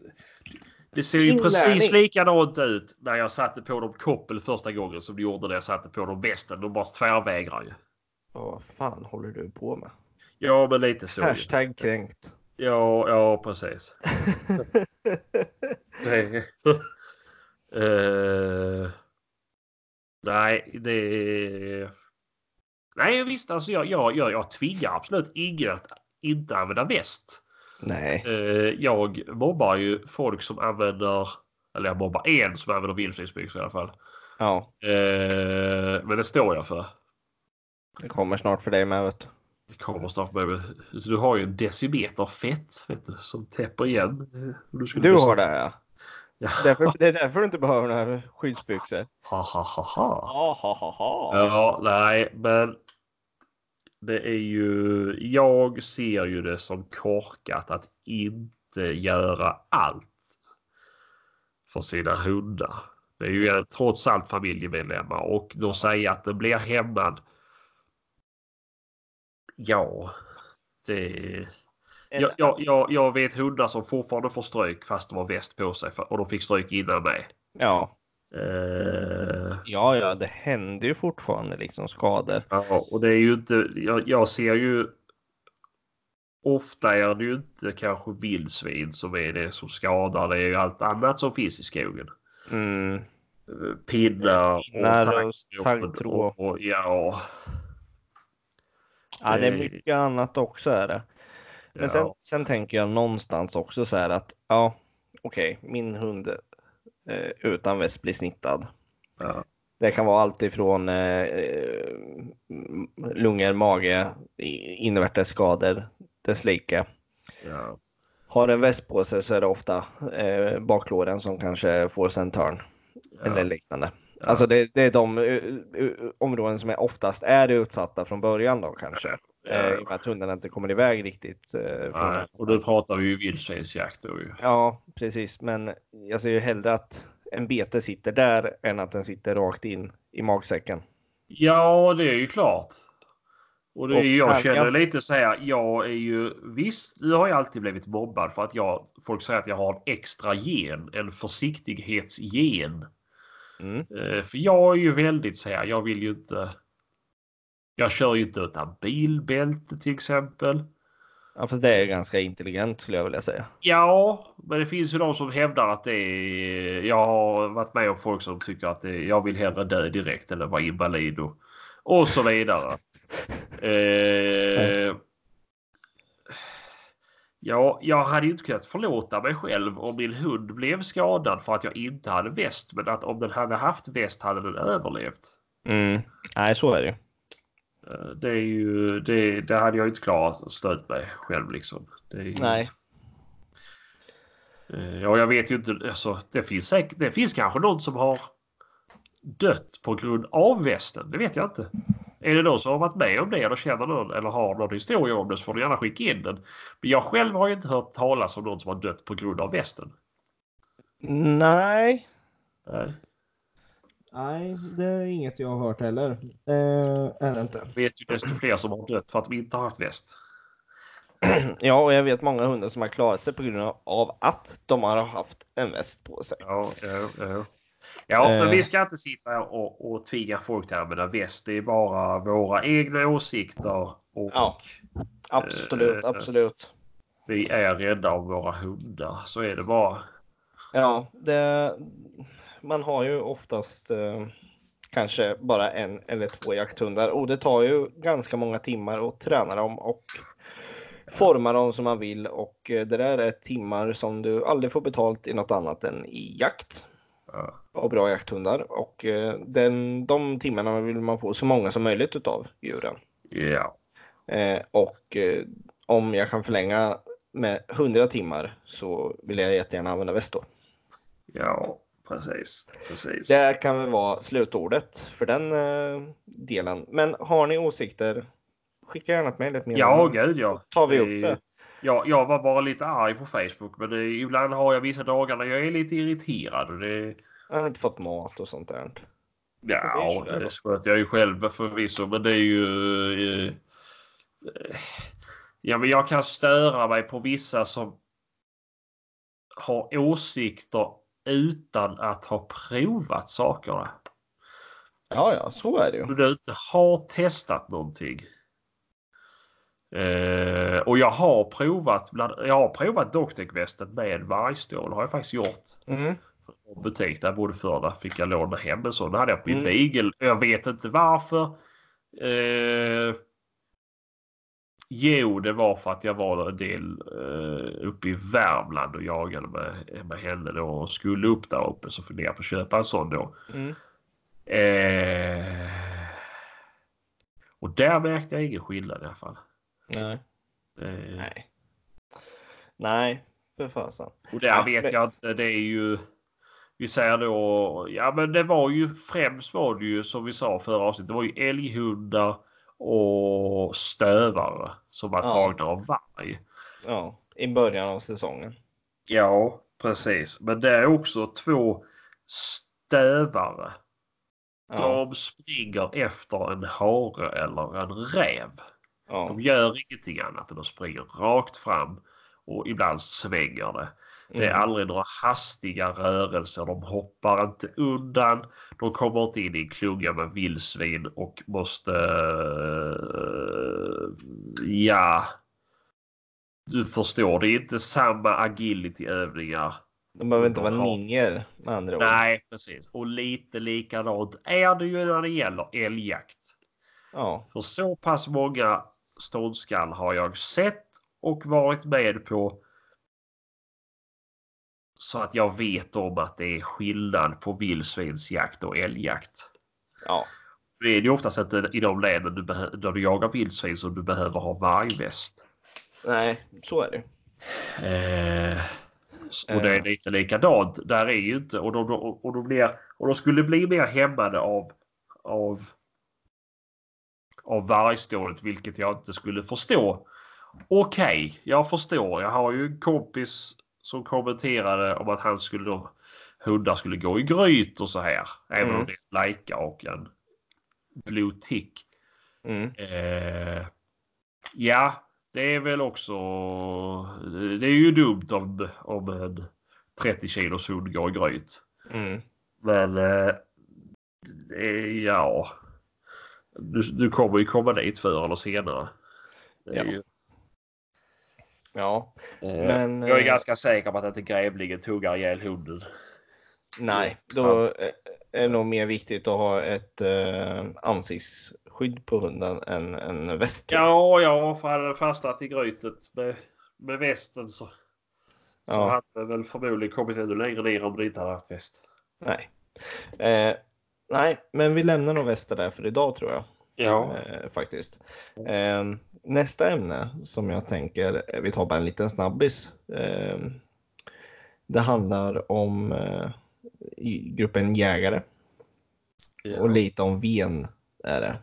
S2: det ser ju
S1: Inlärning.
S2: precis likadant ut när jag satte på dem koppel första gången som det gjorde när jag satte på dem västen. De bara tvärvägrar ju.
S1: Ja, Vad fan håller du på med?
S2: Ja, men lite så. ju.
S1: Hashtag kränkt.
S2: Ja, ja, precis. Nej. Eh, nej, det... Nej, visst, alltså jag, jag, jag, jag tvingar absolut ingen att inte använda väst.
S1: Nej.
S2: Eh, jag mobbar ju folk som använder, eller jag mobbar en som använder vildsvinsbyxor i alla fall.
S1: Ja,
S2: Eh, men det står jag för.
S1: det kommer snart för dig med. Vet du.
S2: Det kommer snart med. Så Du har ju en decimeter fett vet du, som täpper igen. eh, om skulle
S1: Du
S2: bli-
S1: har det här, ja.
S2: Ja.
S1: Därför, det är därför du inte behöver några skyddsbyxor.
S2: Ha, ha, ha, ha.
S1: Ja, ha, ha, ha.
S2: Ja, nej, men. Det är ju. Jag ser ju det som korkat att inte göra allt. För sina hundar. Det är ju trots allt familjemedlemmar och de säger att det blir hämmad. Ja, det. Jag, jag, jag, jag vet hundar som fortfarande får stryk fast de har väst på sig för, och de fick stryk innan mig.
S1: ja.
S2: Eh,
S1: ja, ja, det händer ju fortfarande liksom skador.
S2: ja, och det är ju inte, jag, jag ser ju ofta är det ju inte kanske vildsvin som är det som skadar. Det är ju allt annat som finns i skogen.
S1: Mm.
S2: Eh, Pinnar och
S1: Pinnar och
S2: taggtråd.
S1: taggtråd.
S2: Och, och, ja,
S1: Ja, det är
S2: Det-
S1: mycket annat också är det. Men sen,
S2: ja,
S1: sen tänker jag någonstans också så här att ja, okej, min hund eh, utan väst blir snittad.
S2: ja,
S1: Det kan vara allt ifrån eh, eh, m- lungor, mage, i- invärtes skador, dess like.
S2: ja.
S1: Har en väst på sig så är det ofta eh, baklåren som kanske får sig en törn eller
S2: ja.
S1: liknande. Alltså det, det är de eh, eh, områden som är oftast är utsatta från början då kanske. Eh, I och med att hundarna inte kommer iväg riktigt. Eh, från
S2: Nej, och nu pratar vi ju vildsvinsjakt då ju.
S1: Ja, precis. Men jag ser ju hellre att en bete sitter där än att den sitter rakt in i magsäcken.
S2: Ja, det är ju klart. Och det är
S1: Och
S2: ju, jag
S1: tankar.
S2: känner lite så här, jag är ju visst, jag har ju alltid blivit mobbad för att jag, folk säger att jag har en extra gen, en försiktighetsgen.
S1: Mm.
S2: Eh, För jag är ju väldigt så här, jag vill ju inte. Jag kör ju inte utan bilbälte till exempel.
S1: Ja, fast det är ju ganska intelligent skulle jag vilja säga.
S2: Ja, men det finns ju de som hävdar att det är... Jag har varit med om folk som tycker att det är, jag vill hellre dö direkt eller vara invalid och, och så vidare. Eh, ja, jag hade ju inte kunnat förlåta mig själv om min hund blev skadad för att jag inte hade väst. Men att om den hade haft väst hade den överlevt.
S1: Mm. Nej, så är det ju.
S2: Eh, Det, är ju, det, det hade jag inte klarat att stå ut med själv. Liksom. Det är ju,
S1: Nej.
S2: Eh, Ja, jag vet ju inte. Alltså, det, finns säk- det finns kanske någon som har dött på grund av västen. Det vet jag inte. Är det någon som har varit med om det eller känner någon eller har någon historia om det så får du gärna skicka in den. Men jag själv har ju inte hört talas om någon som har dött på grund av västen.
S1: Nej.
S2: Nej.
S1: Nej, det är inget jag har hört heller. Eh, är det inte.
S2: Jag vet ju desto fler som har dött för att de inte har haft väst.
S1: Ja, och jag vet många hundar som har klarat sig på grund av att de har haft en väst på sig.
S2: Ja, ja, ja. Ja, men
S1: Eh.
S2: vi ska inte sitta och, och tvinga folk till att använda väst. Det är bara våra egna åsikter och
S1: Ja. Absolut,
S2: Eh.
S1: absolut.
S2: vi är rädda om våra hundar. Så är det bara.
S1: Ja, det, man har ju oftast eh, kanske bara en eller två jakthundar och det tar ju ganska många timmar att träna dem och forma dem som man vill och eh, det där är timmar som du aldrig får betalt i något annat än i jakt
S2: Ja.
S1: och bra jakthundar och eh, den, de timmarna vill man få så många som möjligt utav djuren.
S2: Ja.
S1: Eh, och eh, om jag kan förlänga med 100 timmar så vill jag jättegärna använda väst då.
S2: Ja, precis. precis.
S1: Det här kan väl vara slutordet för den eh, delen. Men har ni åsikter, skicka gärna ett mejl. ett
S2: Ja,
S1: meddelande.
S2: gud ja.
S1: tar vi upp det.
S2: Ja, jag var bara lite arg på Facebook, men eh, ibland har jag vissa dagar när jag är lite irriterad. Och det,
S1: Jag har inte fått mat och sånt där. det är
S2: ja,
S1: så där
S2: det
S1: då.
S2: sköter jag ju själv förvisso, men det är ju... eh, eh, Ja, men jag kan störa mig på vissa som har åsikter utan att ha provat sakerna.
S1: Ja, ja, så är det ju.
S2: Om du inte har testat någonting. Eh, och jag har provat bland, jag har provat Doctec-västen med vargstål har jag faktiskt gjort.
S1: Mm.
S2: På butik där jag bodde förr där fick jag låna hem en sån. Den hade jag på min
S1: Mm.
S2: beagle. Jag vet inte varför. Eh, jo, det var för att jag var en del eh, uppe i Värmland och jagade med, med henne då och skulle upp där uppe så funderade jag på att köpa en sån då.
S1: Mm.
S2: Eh, och där märkte jag ingen skillnad i alla fall.
S1: Nej.
S2: Eh,
S1: Nej. Nej, för fasen.
S2: och där
S1: Ja,
S2: vet
S1: men-
S2: jag inte. Det är ju. Vi säger då. Ja men det var ju främst var det ju som vi sa förra avsnittet. Det var ju älghundar och stövare som var
S1: Ja.
S2: tagna av varg.
S1: Ja, i början av säsongen.
S2: Ja precis. Men det är också två stövare.
S1: Ja,
S2: De springer efter en hare eller en räv.
S1: ja.
S2: De gör ingenting annat än de springer rakt fram och ibland svänger det. Det är
S1: Mm.
S2: aldrig några hastiga rörelser. De hoppar inte undan. De kommer inte in i en klunga med vildsvin och måste... eh, ja. Du förstår, det är inte samma agilityövningar.
S1: De behöver inte vara
S2: de har-
S1: ninjer med andra ord.
S2: Nej, precis. Och lite likadant är det ju när det gäller älgjakt.
S1: Ja,
S2: För så pass många ståndskall har jag sett och varit med på. Så att jag vet om att det är skillnad på vildsvinsjakt och älgjakt.
S1: ja,
S2: Det är ju oftast inte i de länen du, behö- där du jagar vildsvin som du behöver ha vargväst.
S1: nej, så är det.
S2: Eh, och det är lite likadant. Där är ju inte och de, och de, blir, och de skulle bli mer hämmade av, av, av vargstålet, vilket jag inte skulle förstå. Okej, jag förstår. Jag har ju en kompis som kommenterade om att han skulle då, hundar skulle gå i gryt och så här. Även
S1: Mm.
S2: om det är en Laika och en blue tick.
S1: Mm.
S2: Eh, ja, det är väl också... Det är ju dumt om, om en 30 kilos hund går i gryt.
S1: Mm.
S2: Men eh, det- ja... Du, du kommer ju komma dit förr eller senare. Det är
S1: Ja.
S2: ju,
S1: Ja,
S2: eh,
S1: men...
S2: jag är
S1: eh,
S2: ganska säker på att inte grävlingen tuggar ihjäl hunden.
S1: Nej,
S2: Ja.
S1: då eh, är det nog mer viktigt att ha ett eh, ansiktsskydd på hunden än en väst.
S2: Ja, ja, för hade den fastnat i grytet med, med västen så, så
S1: Ja.
S2: hade den väl förmodligen kommit ännu längre ner om den inte hade haft väst.
S1: Nej. Eh, nej, men vi lämnar nog väster där för idag tror jag
S2: Ja.
S1: eh, faktiskt. Eh, nästa ämne som jag tänker, eh, vi tar bara en liten snabbis. Eh, det handlar om eh, i- gruppen jägare.
S2: Ja.
S1: Och lite om ven är det.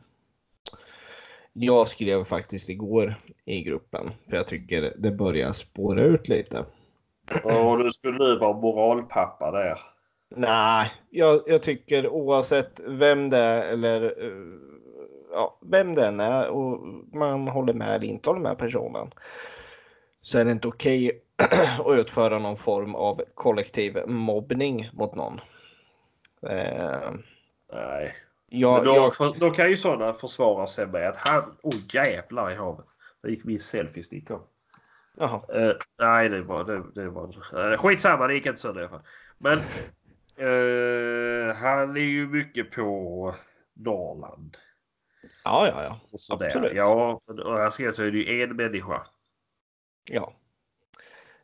S1: Jag skrev faktiskt igår i gruppen för jag tycker det börjar spåra ut lite.
S2: Och du skulle nu vara moralpappa där.
S1: Nej, jag, jag tycker oavsett vem det är eller eh, ja, vem den är och man håller med eller inte håller med personen så är det inte okej att utföra någon form av kollektiv mobbning mot någon. Eh,
S2: Nej.
S1: jag,
S2: Men då,
S1: jag,
S2: för, då kan ju sådana försvara sig med att han... Oj jävlar i havet. Där gick min selfiestick av.
S1: jaha.
S2: Eh, nej, det var... Det, det var uh, skitsamma, det gick inte sönder i alla fall. Men eh, han är ju mycket på Norrland.
S1: Ja, ja, ja.
S2: Och sådär.
S1: Absolut.
S2: Ja, och här ska jag säga, det är ju en människa.
S1: Ja.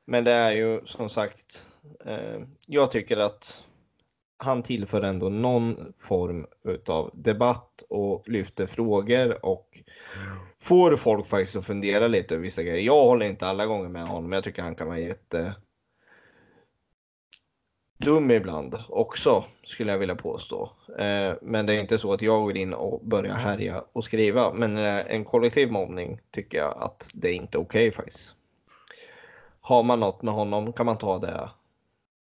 S1: Men det är ju som sagt, eh, jag tycker att han tillför ändå någon form utav debatt och lyfter frågor och får folk faktiskt att fundera lite över vissa grejer. Jag håller inte alla gånger med honom, men jag tycker han kan vara jätte dum ibland också skulle jag vilja påstå. Eh, men det är inte så att jag går in och börjar härja och skriva. Men eh, en kollektiv mobbning tycker jag att det är inte okej faktiskt. Har man något med honom kan man ta det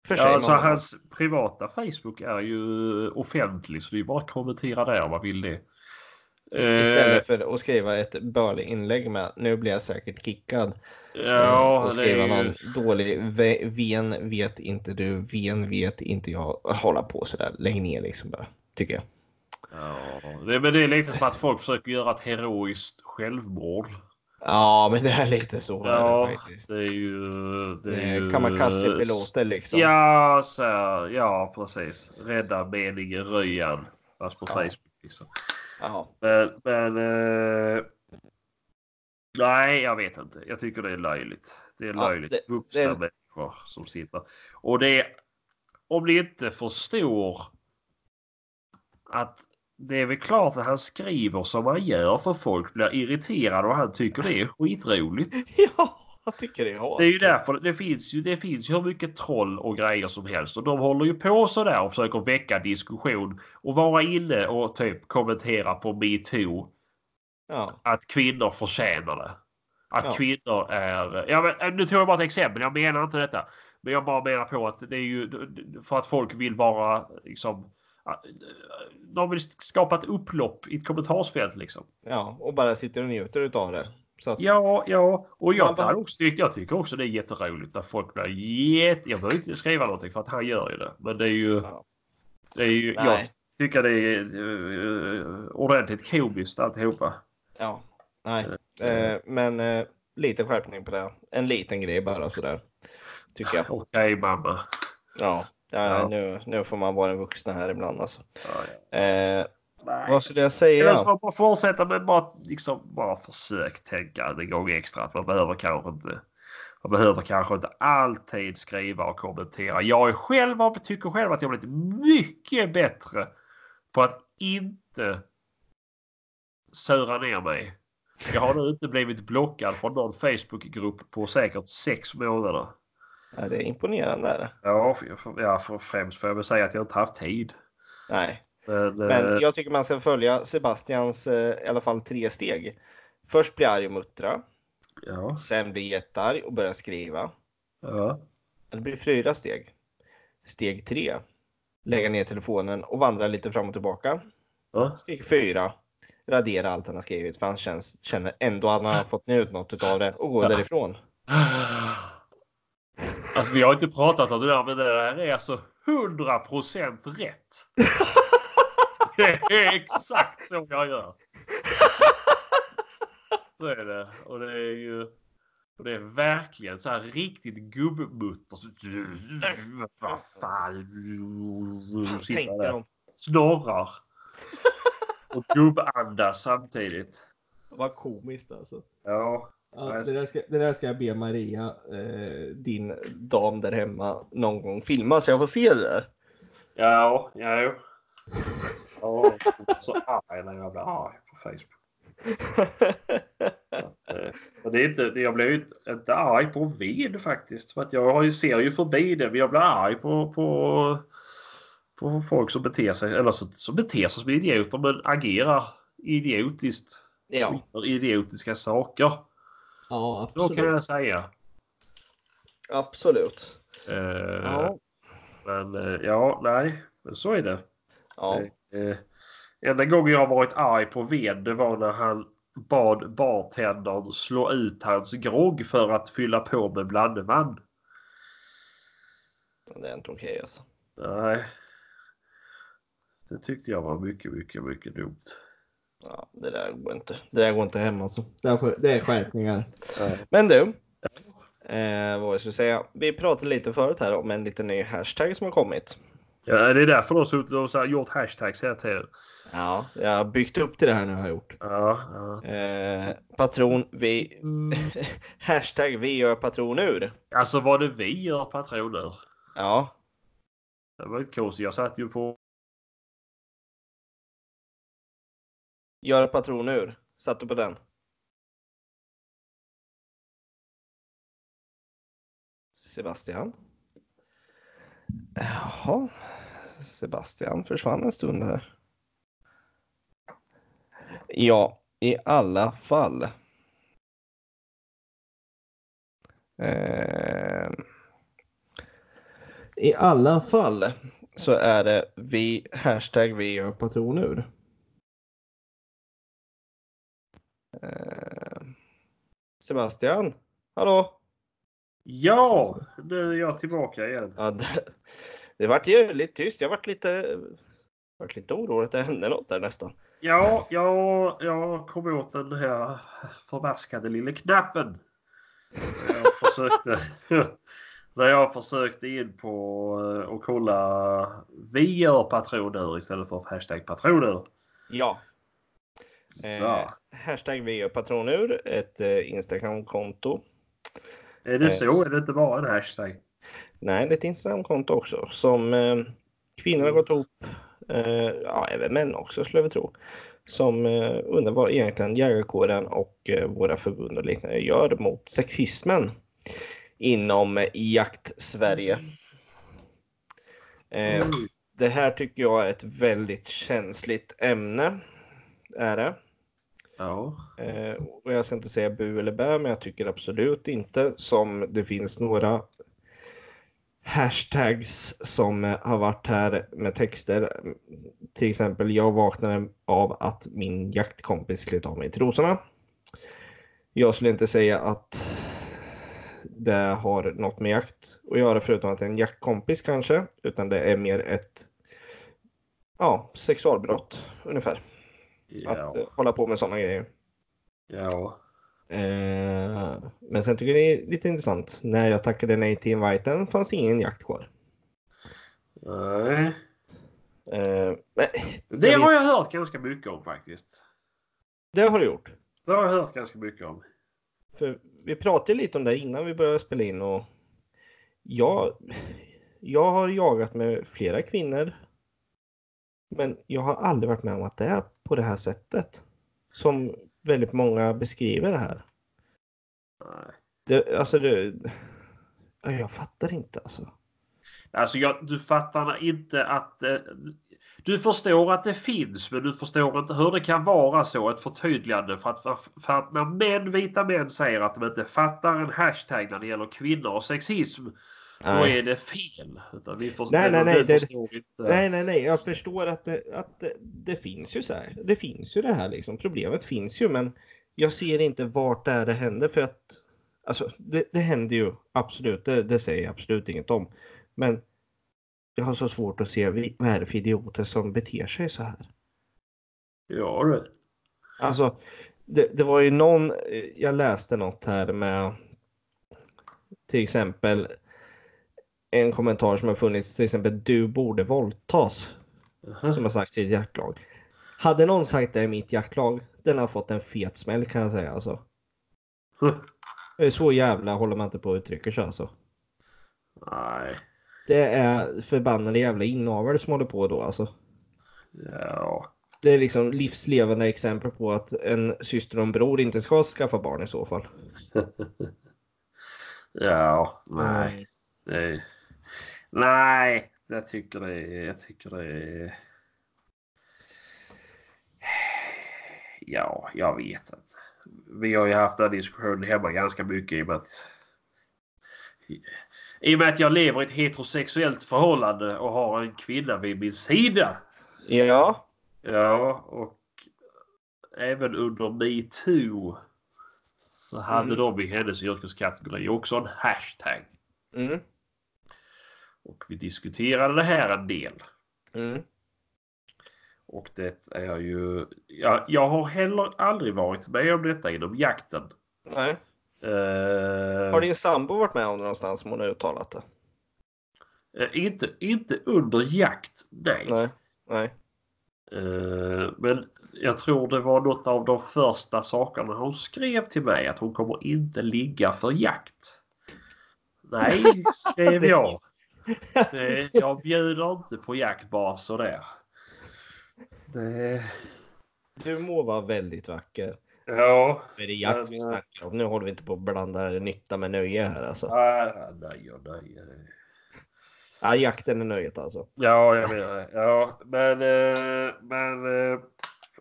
S1: för sig.
S2: Ja,
S1: med
S2: alltså
S1: honom.
S2: hans privata Facebook är ju offentlig så det är ju bara att kommentera där om man vill det. Eh,
S1: Istället för att skriva ett börlig inlägg med nu blir jag säkert kickad. Mm,
S2: ja,
S1: och
S2: det
S1: skriva
S2: är ju...
S1: någon dålig ve- ven vet inte du, ven vet inte jag. Hålla på sådär, lägg ner liksom bara. Tycker jag.
S2: Ja, det, men det är lite som att folk försöker göra ett heroiskt självmord.
S1: Ja, men det är lite så. är
S2: Ja,
S1: det faktiskt. Eh,
S2: det är ju... Det
S1: Det
S2: är ju...
S1: kamikazepiloter liksom.
S2: Ja, så här, ja, precis. Rädda meningen Ryan. Fast på
S1: Ja.
S2: Facebook. Liksom.
S1: Ja.
S2: Men... men eh, nej, jag vet inte. Jag tycker det är löjligt. Det är
S1: Ja,
S2: löjligt.
S1: det-
S2: Vuxna
S1: det-
S2: människor som sitter. Och det är... Om ni inte förstår att det är väl klart att han skriver som han gör för folk blir irriterade och han tycker det är skitroligt.
S1: ja, jag tycker det är
S2: Det är ju därför det finns ju, det finns ju hur mycket troll och grejer som helst och de håller ju på sådär och försöker väcka diskussion och vara inne och typ kommentera på metoo
S1: Ja,
S2: att kvinnor förtjänar det. Att
S1: Ja.
S2: kvinnor är... Ja, men, eh, nu tog jag bara ett exempel, jag menar inte detta. Men jag bara menar på att det är ju för att folk vill vara liksom... De vill skapa ett upplopp i ett kommentarsfält liksom.
S1: ja, och bara sitter och njuter utav det. Så att,
S2: Ja, ja. Och jag,
S1: Man bara-
S2: hade också, tyckt- jag tycker också det är jätteroligt när folk blir jätte... Jag behöver inte skriva någonting för att han gör ju det. Men det är ju...
S1: Ja.
S2: Det är ju jag
S1: Nej.
S2: tycker det är eh, ordentligt komiskt alltihopa.
S1: ja, nej. Eh, men eh, lite skärpning på det. En liten grej bara sådär. Tycker jag.
S2: Okej mamma.
S1: Ja, ja,
S2: Ja.
S1: Nu, nu får man vara den vuxna här ibland alltså.
S2: Ja, ja.
S1: Eh,
S2: Nej.
S1: vad skulle jag
S2: Eller så
S1: säga?
S2: får man fortsätta med bara, liksom, bara försök tänka en gång extra att man behöver kanske inte man behöver kanske inte alltid skriva och kommentera. Jag är själv, jag tycker själv att jag har blivit mycket bättre på att inte söra ner mig. Jag har nu inte blivit blockad från någon Facebookgrupp på säkert sex månader.
S1: Ja, det är imponerande. Är det?
S2: Ja, för, ja för främst får jag väl säga att jag inte haft tid.
S1: Nej,
S2: Men, eh,
S1: men jag tycker man ska följa Sebastians eh, i alla fall tre steg. Först bli arg och muttra.
S2: ja,
S1: Sen bli jättearg och börja skriva.
S2: ja.
S1: Det blir fyra steg. Steg tre. Lägga ner telefonen och vandra lite fram och tillbaka.
S2: ja.
S1: Steg fyra. Radera allt han har skrivit för han känns, känner ändå att han har fått ut något av det och gå
S2: Ja.
S1: därifrån.
S2: Alltså vi har inte pratat om det där, men det där är alltså 100% rätt. Det är exakt så jag gör. Så är det. Och det är ju... Och det är verkligen så här riktigt gubbmutter. Så- Vad fan. Sitter
S1: Tänker
S2: där.
S1: de,
S2: Snorrar. Och gubbandas samtidigt.
S1: vad komiskt alltså.
S2: Ja.
S1: Ja, det, där ska, det där ska jag be Maria, eh, din dam där hemma, någon gång filma så jag får se det där.
S2: Ja, ja, jo. Ja, så arg när jag blir arg på Facebook. Eh, Men det är inte, jag blir ju inte- inte arg på ved faktiskt. För att jag har ju, ser ju förbi det. Men jag blir arg på, på, på folk som beter sig, eller så, som beter sig som idioter men agerar idiotiskt.
S1: ja,
S2: Gör idiotiska saker.
S1: ja,
S2: Så kan jag säga.
S1: Absolut.
S2: Eh,
S1: Ja.
S2: Men eh, ja, nej. Men så är det.
S1: Ja.
S2: Eh, enda gången jag har varit arg på ved det var när han bad bartendern slå ut hans grogg för att fylla på med blandeman.
S1: Det är inte okej alltså.
S2: Nej. Det tyckte jag var mycket, mycket, mycket dumt.
S1: Ja, det där går inte. Det där går inte hem alltså. Därför, det är skärpningar. Men du. Eh, vad jag skulle säga. Vi pratade lite förut här om en liten ny hashtag som har kommit.
S2: Ja, det är därför de har suttit och så här gjort hashtags hela tiden.
S1: Ja. Jag har byggt upp till det här nu har jag gjort.
S2: Ja, ja.
S1: Eh, patron, vi... hashtag vi gör patron ur.
S2: Alltså vad det vi gör patroner.
S1: Ja.
S2: Det var lite konstigt. Jag satt ju på...
S1: Gör patron ur. Satt du på den? Sebastian? Jaha. Sebastian försvann en stund här. Ja, i alla fall. Eh, I alla fall så är det vi, hashtag vi gör patron ur. Eh, Sebastian, hallå?
S2: Ja, nu är jag tillbaka igen.
S1: Ja, det, det vart ju lite tyst. Jag vart lite, vart lite orolig att det hände något där nästan.
S2: Ja, ja, jag kom åt den här förbaskade lilla knappen. När Jag försökte, när jag försökte in på eh, och kolla vi gör patroner istället för hashtag patroner.
S1: Ja. Eh,
S2: Så.
S1: hashtag vi gör patronur, ett eh, Instagramkonto.
S2: Är det så?
S1: Eh,
S2: Är det inte bara en hashtag?
S1: Nej, det är ett Instagramkonto också som eh, kvinnor har gått ihop. Eh, ja, även män också skulle jag väl tro. Som eh, undrar vad egentligen jägarkåren och eh, våra förbund och liknande gör mot sexismen inom eh, jakt-Sverige. Eh,
S2: Mm.
S1: Det här tycker jag är ett väldigt känsligt ämne. Är det.
S2: Ja.
S1: Eh, och jag ska inte säga bu eller bä, men jag tycker absolut inte som det finns några hashtags som eh, har varit här med texter. Till exempel, jag vaknade av att min jaktkompis slet av mig trosorna. Jag skulle inte säga att det har något med jakt att göra förutom att det är en jaktkompis kanske, utan det är mer ett ja, sexualbrott ungefär.
S2: Ja.
S1: Att eh, hålla på med sådana grejer.
S2: ja.
S1: Eh, men sen tycker jag det är lite intressant. När jag tackade nej till inviten fanns ingen jakt kvar.
S2: Nej.
S1: Eh, men,
S2: Det har jag hört ganska mycket om faktiskt.
S1: det har du gjort.
S2: Det har jag hört ganska mycket om.
S1: För vi pratade lite om det här innan vi började spela in och jag, jag har jagat med flera kvinnor. Men jag har aldrig varit med om att det är på det här sättet. Som väldigt många beskriver det här.
S2: Nej.
S1: Det, alltså det, ja, jag fattar inte alltså.
S2: Alltså jag, du fattar inte att... eh, Du förstår att det finns men du förstår inte hur det kan vara så. Ett förtydligande för att, för att när män, vita män säger att de inte fattar en hashtag när det gäller kvinnor och sexism. Då
S1: Nej.
S2: är det fel. Utan vi för,
S1: Nej, nej,
S2: men
S1: nej,
S2: Du
S1: det-
S2: förstår inte.
S1: Nej, nej, nej. Jag förstår att det, att det, det finns ju så här. Det finns ju det här liksom. Problemet finns ju, men jag ser inte vart det här det händer för att alltså, det, det händer ju absolut. Det, det säger jag absolut inget om, men jag har så svårt att se vi- vad är det för idioter som beter sig så här.
S2: Ja, du.
S1: Alltså, det, det var ju någon, eh, jag läste något här med till exempel en kommentar som har funnits, till exempel du borde våldtas. som har sagt sitt jaktlag. Hade någon sagt det i mitt jaktlag, den har fått en fet smäll kan jag säga alltså. Det är Så jävla håller man inte på och uttrycker sig alltså.
S2: Nej.
S1: Det är förbannade jävla inavel som håller på då alltså.
S2: Ja.
S1: Det är liksom livslevande exempel på att en syster och en bror inte ska skaffa barn i så fall.
S2: Ja. Nej. Nej. Nej, jag tycker det är... Jag tycker det är... Ja, jag vet inte. Vi har ju haft den här diskussionen hemma ganska mycket i och med att... I och med att jag lever i ett heterosexuellt förhållande och har en kvinna vid min sida.
S1: Ja.
S2: Ja, och även under metoo så hade
S1: Mm.
S2: de i hennes yrkeskategori också en hashtag.
S1: Mm.
S2: Och vi diskuterade det här en del.
S1: Mm.
S2: Och det är ju... Ja, jag har heller aldrig varit med om detta inom jakten.
S1: Nej.
S2: Eh,
S1: Har din sambo varit med om det någonstans som hon har uttalat det?
S2: eh, inte, inte under jakt, nej.
S1: Nej. Nej.
S2: Eh, men jag tror det var något av de första sakerna hon skrev till mig att hon kommer inte ligga för jakt. Nej, skrev jag. Det- Jag bjuder inte på jakt bara sådär. Det...
S1: Du må vara väldigt vacker.
S2: Ja.
S1: Men det är jakt vi
S2: Men, eh,
S1: snackar om. Nu håller vi inte på att blanda nytta med nöje här alltså.
S2: Ah, nej, och nej.
S1: Ja, jakten är nöjet alltså.
S2: Ja, jag menar det. Ja, men, eh, men eh,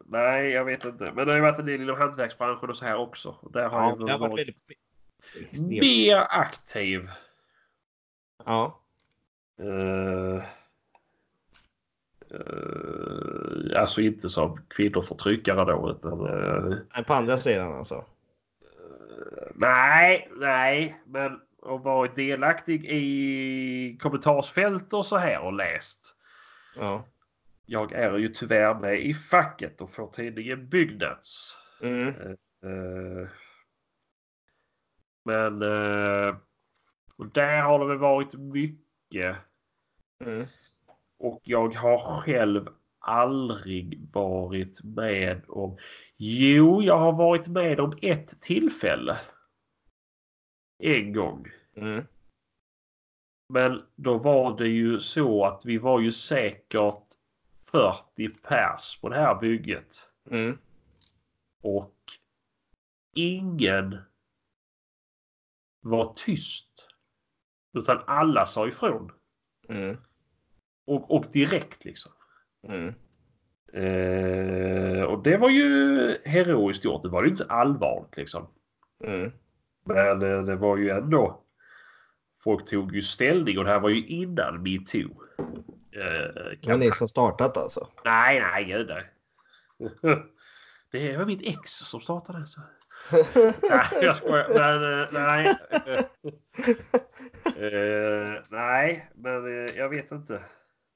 S2: nej, jag vet inte. Men det har ju varit en del inom hantverksbranschen och så här också. Och Där har
S1: Ja,
S2: jag
S1: det har varit
S2: varit
S1: väldigt... extremt.
S2: mer aktiv.
S1: Ja.
S2: Eh, eh, alltså inte som kvinnoförtryckare då utan eh,
S1: Men på andra sidan alltså.
S2: nej, nej, men och varit delaktig i kommentarsfält och så här och läst.
S1: Ja.
S2: Jag är ju tyvärr med i facket och får tidningen Byggnads.
S1: Mm.
S2: Eh, men eh, och där har det väl varit mycket
S1: Mm.
S2: och jag har själv aldrig varit med om. Jo, jag har varit med om ett tillfälle. En gång.
S1: Mm.
S2: Men då var det ju så att vi var ju säkert 40 pers på det här bygget.
S1: Mm.
S2: Och ingen var tyst. Utan alla sa ifrån.
S1: Mm.
S2: Och, och direkt liksom.
S1: Mm.
S2: Eh, och det var ju heroiskt gjort. Det var ju inte allvarligt liksom.
S1: Mm.
S2: Men eh, det var ju ändå. Folk tog ju ställning och det här var ju innan metoo. Eh,
S1: Det var
S2: kan...
S1: ni som startat alltså.
S2: Nej, nej, gud nej. Det var mitt ex som startade. det, Så. Nej, jag skojar. Men, eh, nej. Eh, nej, men eh, jag vet inte.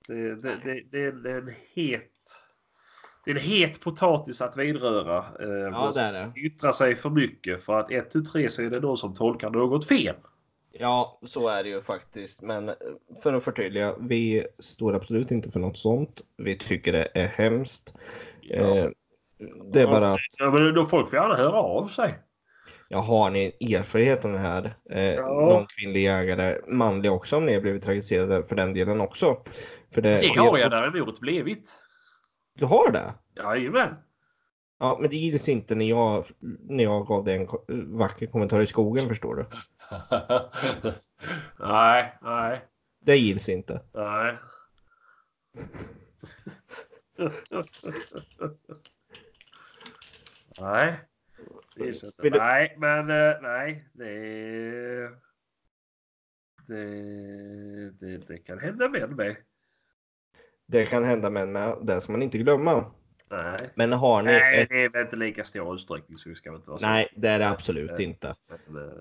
S2: Det, det, det, det, är- det är en het... Det är en het potatis att vidröra. Eh,
S1: ja,
S2: man
S1: det är det.
S2: yttrar sig för mycket för att ett tu tre så är det någon som tolkar något fel.
S1: Ja, så är det ju faktiskt. Men eh, för att förtydliga, vi står absolut inte för något sånt. Vi tycker det är hemskt. Eh, Det är bara att
S2: Ja, men då folk får gärna höra av sig.
S1: Eh, jag har ni en erfarenhet om det här? Eh,
S2: Ja.
S1: Någon kvinnlig jägare, manlig också om ni har blivit trakasserade för den delen också. För det,
S2: Det har jag däremot blivit.
S1: Du har det?
S2: Jajamän.
S1: Ja, men det gills inte när jag, när jag gav dig en ko- vacker kommentar i skogen förstår du.
S2: nej, nej,
S1: Det gills inte.
S2: nej. nej. Det är så att,
S1: Vill du-
S2: Nej, men eh, nej. Det, det, det, det kan hända med mig.
S1: Det kan hända men med, det ska man inte glömma.
S2: Nej.
S1: Men har ni
S2: Nej,
S1: ett...
S2: det är väl inte lika stor utsträckning så vi ska väl inte vara så.
S1: Nej, det är det absolut inte.
S2: Men, eh,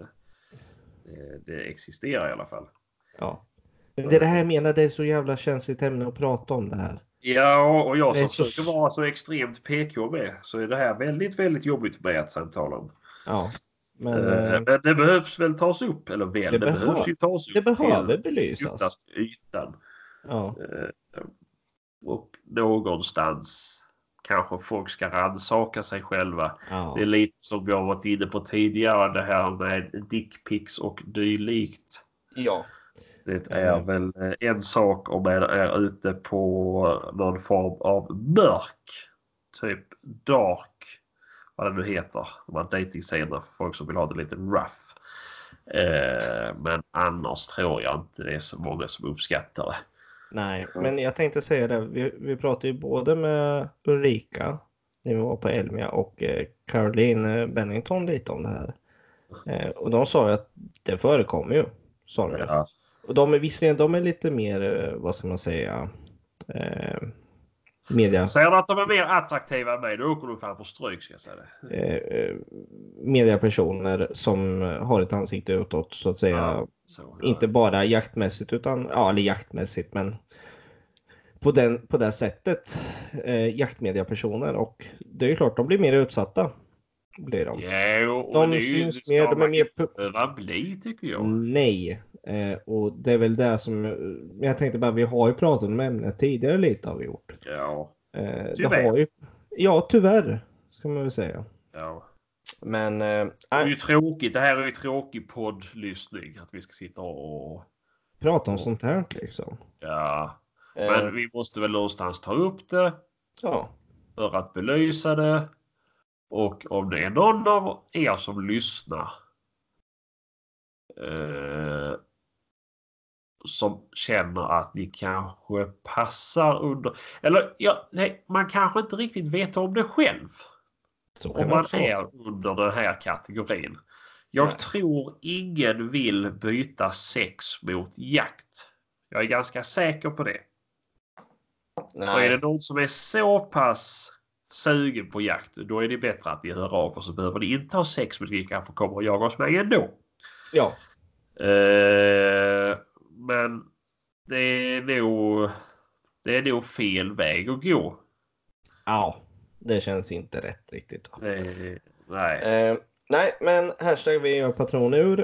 S2: det, det existerar i alla fall.
S1: Ja. Men Det är det här jag menar, det är så jävla känsligt ämne att prata om det här.
S2: Ja, och jag
S1: Det är
S2: som
S1: så-
S2: försöker vara så extremt PK med så är det här väldigt, väldigt jobbigt för mig att samtala om.
S1: Ja. Men
S2: Eh,
S1: eh,
S2: Men det behövs väl tas upp, eller väl, det,
S1: det
S2: behövs
S1: behöver-
S2: ju tas upp
S1: det behöver
S2: till
S1: belysas.
S2: oftast ytan.
S1: Ja.
S2: Eh, Och någonstans kanske folk ska rannsaka sig själva.
S1: ja.
S2: Det är lite som vi har varit inne på tidigare, det här med dickpics och dylikt.
S1: ja.
S2: Det är väl eh, en sak om man är ute på någon form av mörk. Typ dark. Vad det nu heter. De här dejtingscenerna för folk som vill ha det lite rough. Eh, men annars tror jag inte det är så många som uppskattar det.
S1: Nej, men jag tänkte säga det. Vi, vi pratade ju både med Ulrika när vi var på Elmia och eh, Caroline eh, Bennington lite om det här. Eh, och de sa ju att det förekommer ju. Sa de ju.
S2: Ja.
S1: Och de är visserligen de är lite mer, eh, vad ska man säga, eh, media,
S2: Säger du att de är mer attraktiva än mig då åker du fan på stryk ska jag säga det.
S1: eh, eh, mediapersoner som har ett ansikte utåt så att säga.
S2: Ja, Så, ja.
S1: Inte bara jaktmässigt utan, ja eller jaktmässigt men på, den, på det sättet eh, jaktmediapersoner och det är ju klart de blir mer utsatta. Blir de.
S2: Jo, och
S1: De
S2: det är ju-
S1: syns
S2: det ska
S1: mer, de är
S2: man
S1: mer Mm.
S2: inte behöva bli tycker jag.
S1: Nej, eh, och det är väl det som men jag tänkte bara vi har ju pratat om ämnet tidigare lite har vi gjort.
S2: Ja,
S1: Eh, det
S2: Tyvärr.
S1: har ju, ja tyvärr ska man väl säga.
S2: ja.
S1: Men eh,
S2: Det är ju
S1: nej,
S2: tråkigt. Det här är ju tråkig poddlyssning att vi ska sitta och...
S1: prata om sånt här liksom.
S2: Ja.
S1: Eh,
S2: Men vi måste väl någonstans ta upp det
S1: ja.
S2: för att belysa det. Och om det är någon av er som lyssnar eh, som känner att ni kanske passar under... Eller ja, nej, man kanske inte riktigt vet om det själv.
S1: Så kan
S2: Om
S1: det
S2: man
S1: också vara.
S2: är under den här kategorin. Jag
S1: Nej.
S2: tror ingen vill byta sex mot jakt. Jag är ganska säker på det. Och är det någon som är så pass sugen på jakt, då är det bättre att ni hör av er så behöver ni inte ha sex med vilka för kommer och jaga oss med ändå.
S1: Ja,
S2: Eh, men det är, nog, det är nog fel väg att gå.
S1: ja, det känns inte rätt riktigt.
S2: Eh, nej.
S1: Eh, nej, men hashtag vi gör patron ur.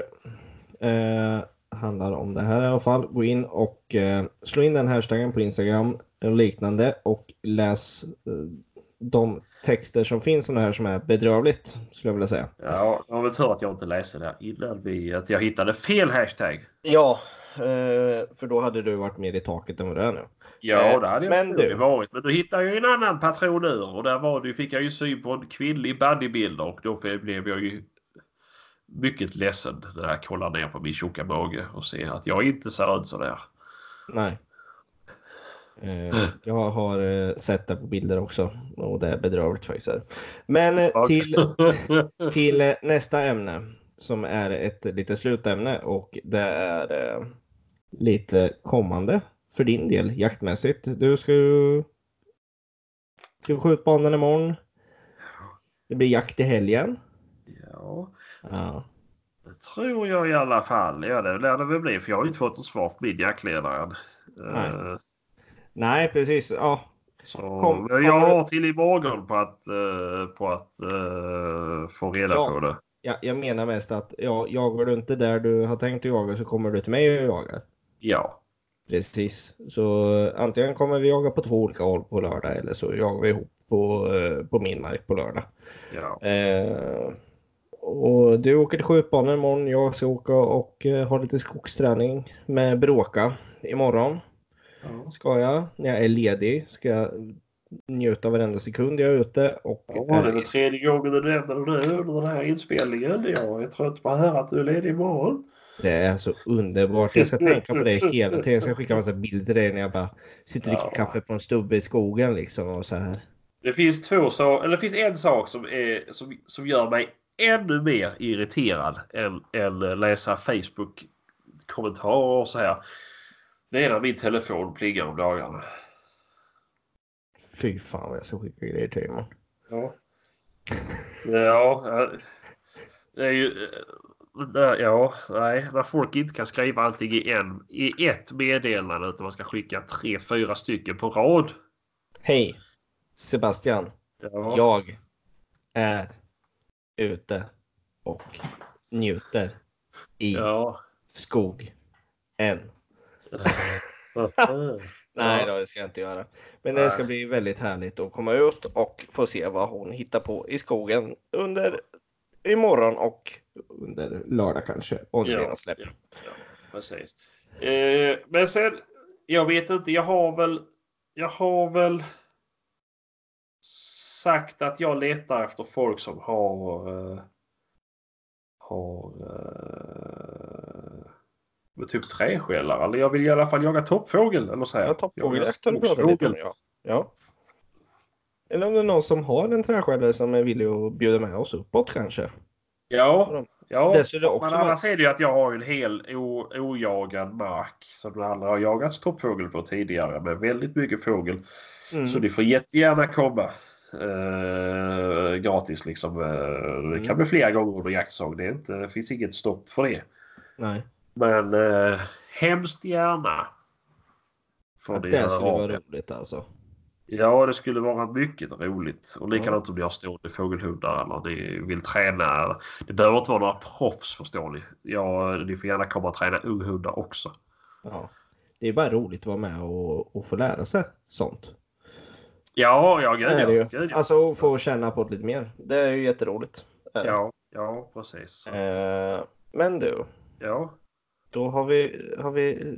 S1: Eh, handlar om det här i alla fall. Gå in och eh, slå in den hashtaggen på Instagram och liknande och läs eh, de texter som finns om det här som är bedrövligt skulle jag vilja säga.
S2: Ja, det var väl tur att jag inte läste det här innan vi, att jag hittade fel hashtag.
S1: Ja, eh, för då hade du varit mer i taket än vad du är nu.
S2: Ja,
S1: Eh,
S2: det hade jag
S1: men
S2: men
S1: du-
S2: varit. Men då hittade jag ju en annan patron ur och där var det, ju- fick jag ju syn på en kvinnlig bodybuilder och då blev jag ju mycket ledsen när jag kollade ner på min tjocka mage och ser att jag inte ser ut sådär.
S1: Nej. Eh, jag har eh, sett det på bilder också och det är bedrövligt faktiskt. Men eh, till till eh, nästa ämne som är ett lite slutämne och det är eh, lite kommande för din del jaktmässigt. Du ska ju ska ju skjutbanan imorgon. Det blir jakt i helgen.
S2: ja,
S1: Ja.
S2: det tror jag i alla fall. Ja, det lär det väl bli för jag har inte fått ett svar på min jaktledare än.
S1: Nej.
S2: Eh,
S1: Nej, precis. Ja,
S2: Så,
S1: Kom-
S2: men jag
S1: kommer-
S2: har till imorgon på att, eh, på att eh, få reda
S1: Ja.
S2: på det.
S1: jag, jag menar mest att ja, jagar du inte där du har tänkt att jaga så kommer du till mig och jagar.
S2: Ja,
S1: Precis. Så eh, antingen kommer vi jaga på två olika håll på lördag eller så jagar vi ihop på, eh, på min mark på lördag.
S2: ja.
S1: Eh, och du åker till skjutbanan imorgon. Jag ska åka och eh, ha lite skogsträning med Bråka imorgon. Ska jag. När jag är ledig ska jag njuta av varenda sekund jag är ute. Och,
S2: Ja, det är
S1: eh,
S2: väl tredje gången du nämner det nu under den här inspelningen. Jag är trött på att höra att du är ledig imorgon.
S1: det är så underbart. Jag ska tänka på det hela tiden. Jag ska skicka massa bilder till dig när jag bara sitter och dricker
S2: Ja.
S1: kaffe på en stubbe i skogen liksom och så här.
S2: Det finns, två så, eller det finns en sak som, är, som, som gör mig ännu mer irriterad än, än läsa Facebook-kommentarer och så här. Det är när min telefon plingar om dagarna.
S1: Fy fan vad jag ska skicka grejer till dig imorgon.
S2: Ja. Ja. eh, Det är ju... eh, där- Ja, nej. När folk inte kan skriva allting i, en, i ett meddelande utan man ska skicka tre, fyra stycken på rad.
S1: Hej! Sebastian.
S2: Ja.
S1: Jag är ute och njuter i
S2: ja.
S1: skog. Än. Nej då, det ska jag inte göra. Men det
S2: Nej.
S1: ska bli väldigt härligt att komma ut och få se vad hon hittar på i skogen under imorgon och under lördag kanske. Om det
S2: Ja.
S1: blir något släpp.
S2: Ja. Precis. Eh, men sen, jag vet inte, jag har väl, jag har väl sagt att jag letar efter folk som har, eh, har eh, med typ träskällar. Eller jag vill i alla fall jaga toppfågel. Eller så här.
S1: Ja, toppfågeljakt har du
S2: Jaga
S1: pratat lite om.
S2: skogsfågel.
S1: Ja. ja. Eller om det är någon som har en träskällare som är villig att bjuda med oss uppåt kanske.
S2: Ja, ja.
S1: Det skulle
S2: Men
S1: också vara...
S2: annars är det ju att jag har en hel o- ojagad mark som det aldrig har jagats toppfågel på tidigare med väldigt mycket fågel.
S1: Mm.
S2: Så ni får jättegärna komma eh, gratis liksom. Eh, Det kan
S1: Mm.
S2: bli flera gånger under jaktsäsong. Det, är inte, det finns inget stopp för det.
S1: Nej.
S2: Men eh, hemskt gärna. För
S1: Att
S2: det
S1: det
S2: här
S1: skulle vara
S2: raken.
S1: roligt alltså.
S2: Ja, det skulle vara mycket roligt. Och likadant
S1: Ja.
S2: om ni har stående fågelhundar eller ni vill träna. Det behöver inte vara några proffs förstår ni. Ja, ni får gärna komma och träna unghundar också.
S1: Ja. Det är bara roligt att vara med och, och få lära sig sånt.
S2: Ja, ja,
S1: Det
S2: gud
S1: är det
S2: ja.
S1: ju.
S2: Gud, ja.
S1: Alltså att få känna på det lite mer. Det är ju jätteroligt. Är det.
S2: ja, ja, precis.
S1: Alltså. Eh, Men du,
S2: Ja.
S1: då har vi, har vi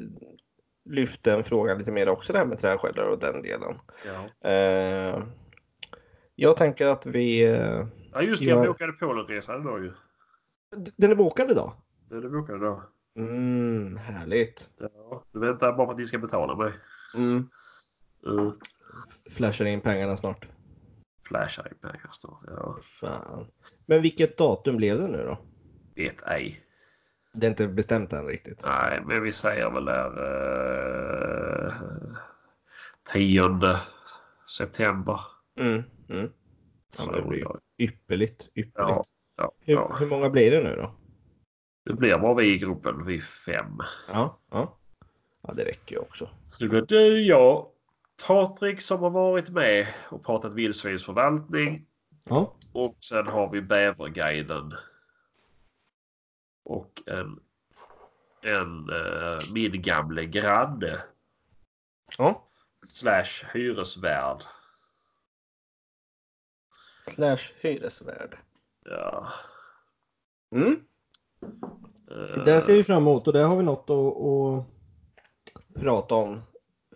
S1: lyft den frågan lite mer också det här med träskällare och den delen.
S2: Ja.
S1: Eh, Jag tänker att vi... eh,
S2: ja, just det. Jag
S1: Ja.
S2: bokade Polenresan idag ju.
S1: d- Den är bokad idag.
S2: Det du bokade idag.
S1: Mm, härligt.
S2: Ja. Du väntar bara på att ni ska betala mig.
S1: Mm.
S2: Uh,
S1: Flashar in pengarna snart.
S2: flashar i pengar snart. Ja.
S1: Fan. Men vilket datum blev det nu då?
S2: Vet ej.
S1: Det är inte bestämt än riktigt.
S2: Nej, men vi säger väl där eh, 10 september.
S1: Mm. Mm. Ja, men det blir ju
S2: ja,
S1: ypperligt. ypperligt.
S2: ja, ja,
S1: Hur, hur många blir det nu då?
S2: Det blir bara vi i gruppen, vi fem.
S1: Ja, ja. ja det räcker ju också.
S2: Så det blir du, jag, Patrik som har varit med och pratat vildsvinsförvaltning
S1: Ja.
S2: och sen har vi bäverguiden. Och en, en eh, min gamle granne
S1: ja.
S2: slash hyresvärd.
S1: Slash hyresvärd.
S2: Ja.
S1: Mm.
S2: eh,
S1: Det ser vi fram emot och det har vi något att, att prata om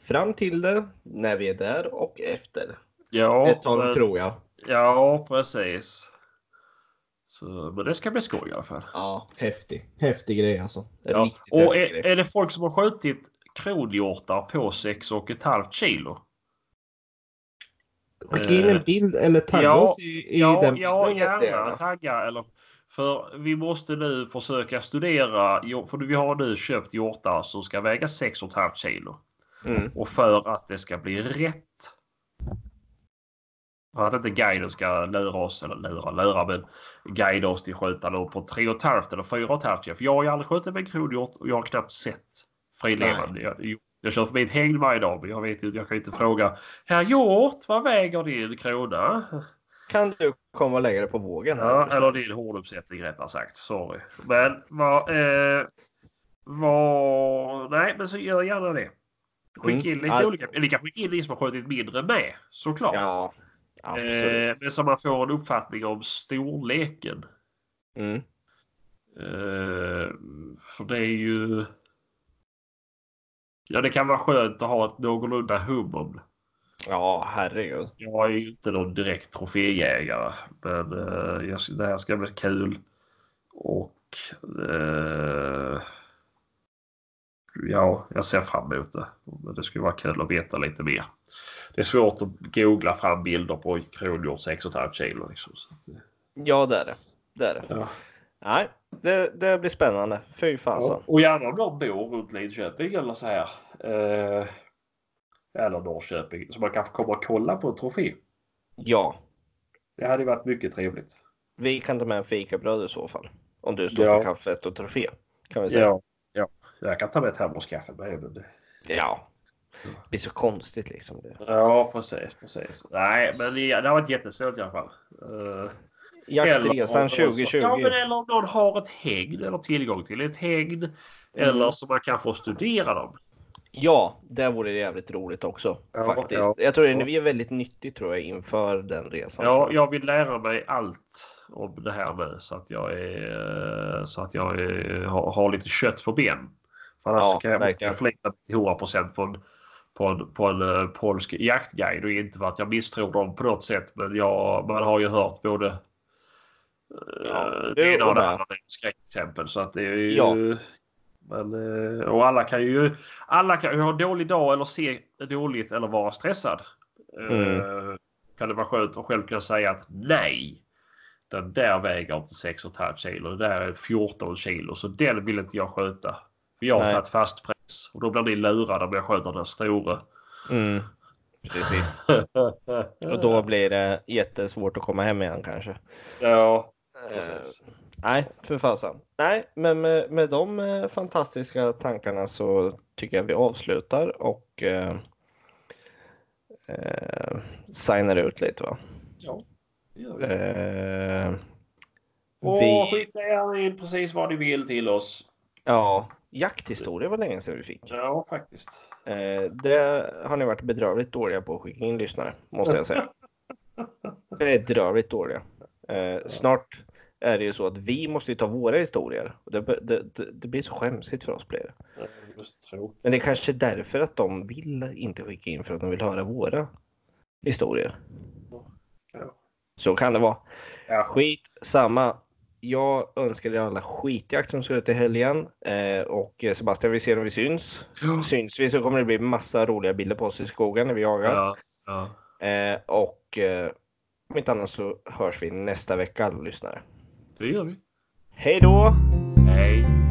S1: fram till det, när vi är där och efter.
S2: ja,
S1: Ett tag
S2: men-
S1: tror jag.
S2: Ja, precis. Så, men det ska bli skoj i alla fall.
S1: Ja, häftig. Häftig grej alltså. En
S2: Ja.
S1: Riktigt
S2: Och
S1: häftig
S2: är,
S1: grej.
S2: är det folk som har skjutit kronhjortar på 6,5 kilo?
S1: Skicka in en
S2: eh,
S1: bild eller tagga
S2: ja,
S1: oss i, i den
S2: ja,
S1: bilden
S2: gärna tagga eller för vi måste nu försöka studera. jo, För vi har nu köpt hjortar som ska väga 6,5 kilo
S1: Mm.
S2: och för att det ska bli rätt. För att inte guiden ska lura oss eller lura lura men guida oss till att skjuta då på 3,5 eller 4,5 kilo. För jag har ju aldrig skjutit med en kronhjort och jag har knappt sett frilevande. Jag, jag kör förbi ett hägn varje dag men jag vet ju jag kan ju inte fråga Herr hjort vad väger din krona?
S1: Kan du komma och lägga det på vågen? Här?
S2: Ja, eller din hårduppsättning rättare sagt. Sorry. Men vad... Eh, vad... Nej, men så gör gärna det. Skicka in
S1: Mm.
S2: lite
S1: Ja.
S2: olika. Eller kanske skicka in liksom ni som har skjutit mindre med. Såklart.
S1: ja absolut.
S2: eh, men så man får en uppfattning om storleken.
S1: Mm.
S2: Eh, för det är ju... Ja, det kan vara skönt att ha ett någorlunda hum om det.
S1: Ja, herregud.
S2: Jag är ju inte någon direkt troféjägare, men eh, jag, det här ska bli kul. Och eh, ja, jag ser fram emot det. Men det skulle vara kul att veta lite mer. Det är svårt att googla fram bilder på kronhjort 6,5 kilo. Liksom, så att, det-
S1: Ja, det är det. det, är det.
S2: ja.
S1: Nej, det, det blir spännande. Fy fasen.
S2: Och gärna om de bor runt Linköping eller så här. Eh, eller Norrköping. Så man kanske kommer och kolla på ett trofé.
S1: Ja,
S2: Det hade ju varit mycket trevligt.
S1: vi kan ta med en fikabröd i så fall. Om du står
S2: Ja.
S1: för kaffet och trofé. Kan vi säga.
S2: Ja, ja. Jag kan ta med termoskaffe med. Men det...
S1: Ja. Det blir så konstigt liksom. Det.
S2: Ja, precis, precis. Nej, men det, det har varit jättesnällt i alla fall. Eh,
S1: Jaktresan
S2: eller om någon-
S1: 2020.
S2: Ja, men eller om någon har ett hägn eller tillgång till ett hägn. Eller så man kan få studera dem.
S1: Ja, det vore jävligt roligt också.
S2: Ja,
S1: faktiskt.
S2: ja.
S1: jag tror det blir väldigt nyttigt tror jag inför den resan.
S2: Ja, jag vill lära mig allt om det här nu så att jag, är, eh, så att jag är, har, har lite kött på benen. För annars
S1: Ja,
S2: så kan jag
S1: verkligen.
S2: inte förlita mig till 100% på en, på, en, på en eh, polsk jaktguide och inte för att jag misstror dem på något sätt. Men jag, man har ju hört både eh,
S1: Ja, det
S2: det ena och det
S1: håller jag.
S2: andra det är skräckexempel. Så att det är ju,
S1: Ja.
S2: men, eh, och alla kan ju alla kan ju ha en dålig dag eller se dåligt eller vara stressad.
S1: Mm.
S2: Eh, kan det vara skönt att själv kunna säga att nej. Den där väger inte 6,5 kilo. Den där är 14 kilo. Så den vill inte jag sköta. För jag har
S1: Nej.
S2: tagit fast pris. Och då blir ni lurade om jag sköter den stora.
S1: Mm. Precis.
S2: Eh.
S1: Och då blir det jättesvårt att komma hem igen kanske.
S2: ja,
S1: Eh,
S2: precis.
S1: Nej, för fasen. Nej, men med, med de eh, fantastiska tankarna så tycker jag vi avslutar och eh, eh, signar ut lite. Va?
S2: Ja, det gör vi.
S1: Eh,
S2: Och
S1: vi,
S2: skicka gärna in precis vad ni vill till oss.
S1: ja, jakthistoria var länge sedan vi fick.
S2: Ja, faktiskt.
S1: Eh, det har ni varit bedrövligt dåliga på att skicka in lyssnare, måste jag säga. Bedrövligt dåliga. Eh, snart är det ju så att vi måste ju ta våra historier. Och Det, det, det, det blir så skämsigt för oss blir det.
S2: Det är just tråkigt.
S1: Men det är kanske är därför att de vill inte skicka in för att de vill höra våra historier.
S2: Ja.
S1: Så kan det vara.
S2: Ja, skit.
S1: Skit samma. Jag önskar er alla skitjakt som ska ut i helgen. Eh, och Sebastian, vi ser om vi syns. Syns vi så kommer det bli massa roliga bilder på oss i skogen när vi jagar.
S2: Ja, ja.
S1: Eh, och eh, om inte annat så hörs vi nästa vecka alla lyssnare.
S2: Det gör vi.
S1: Hej då!
S2: Hej.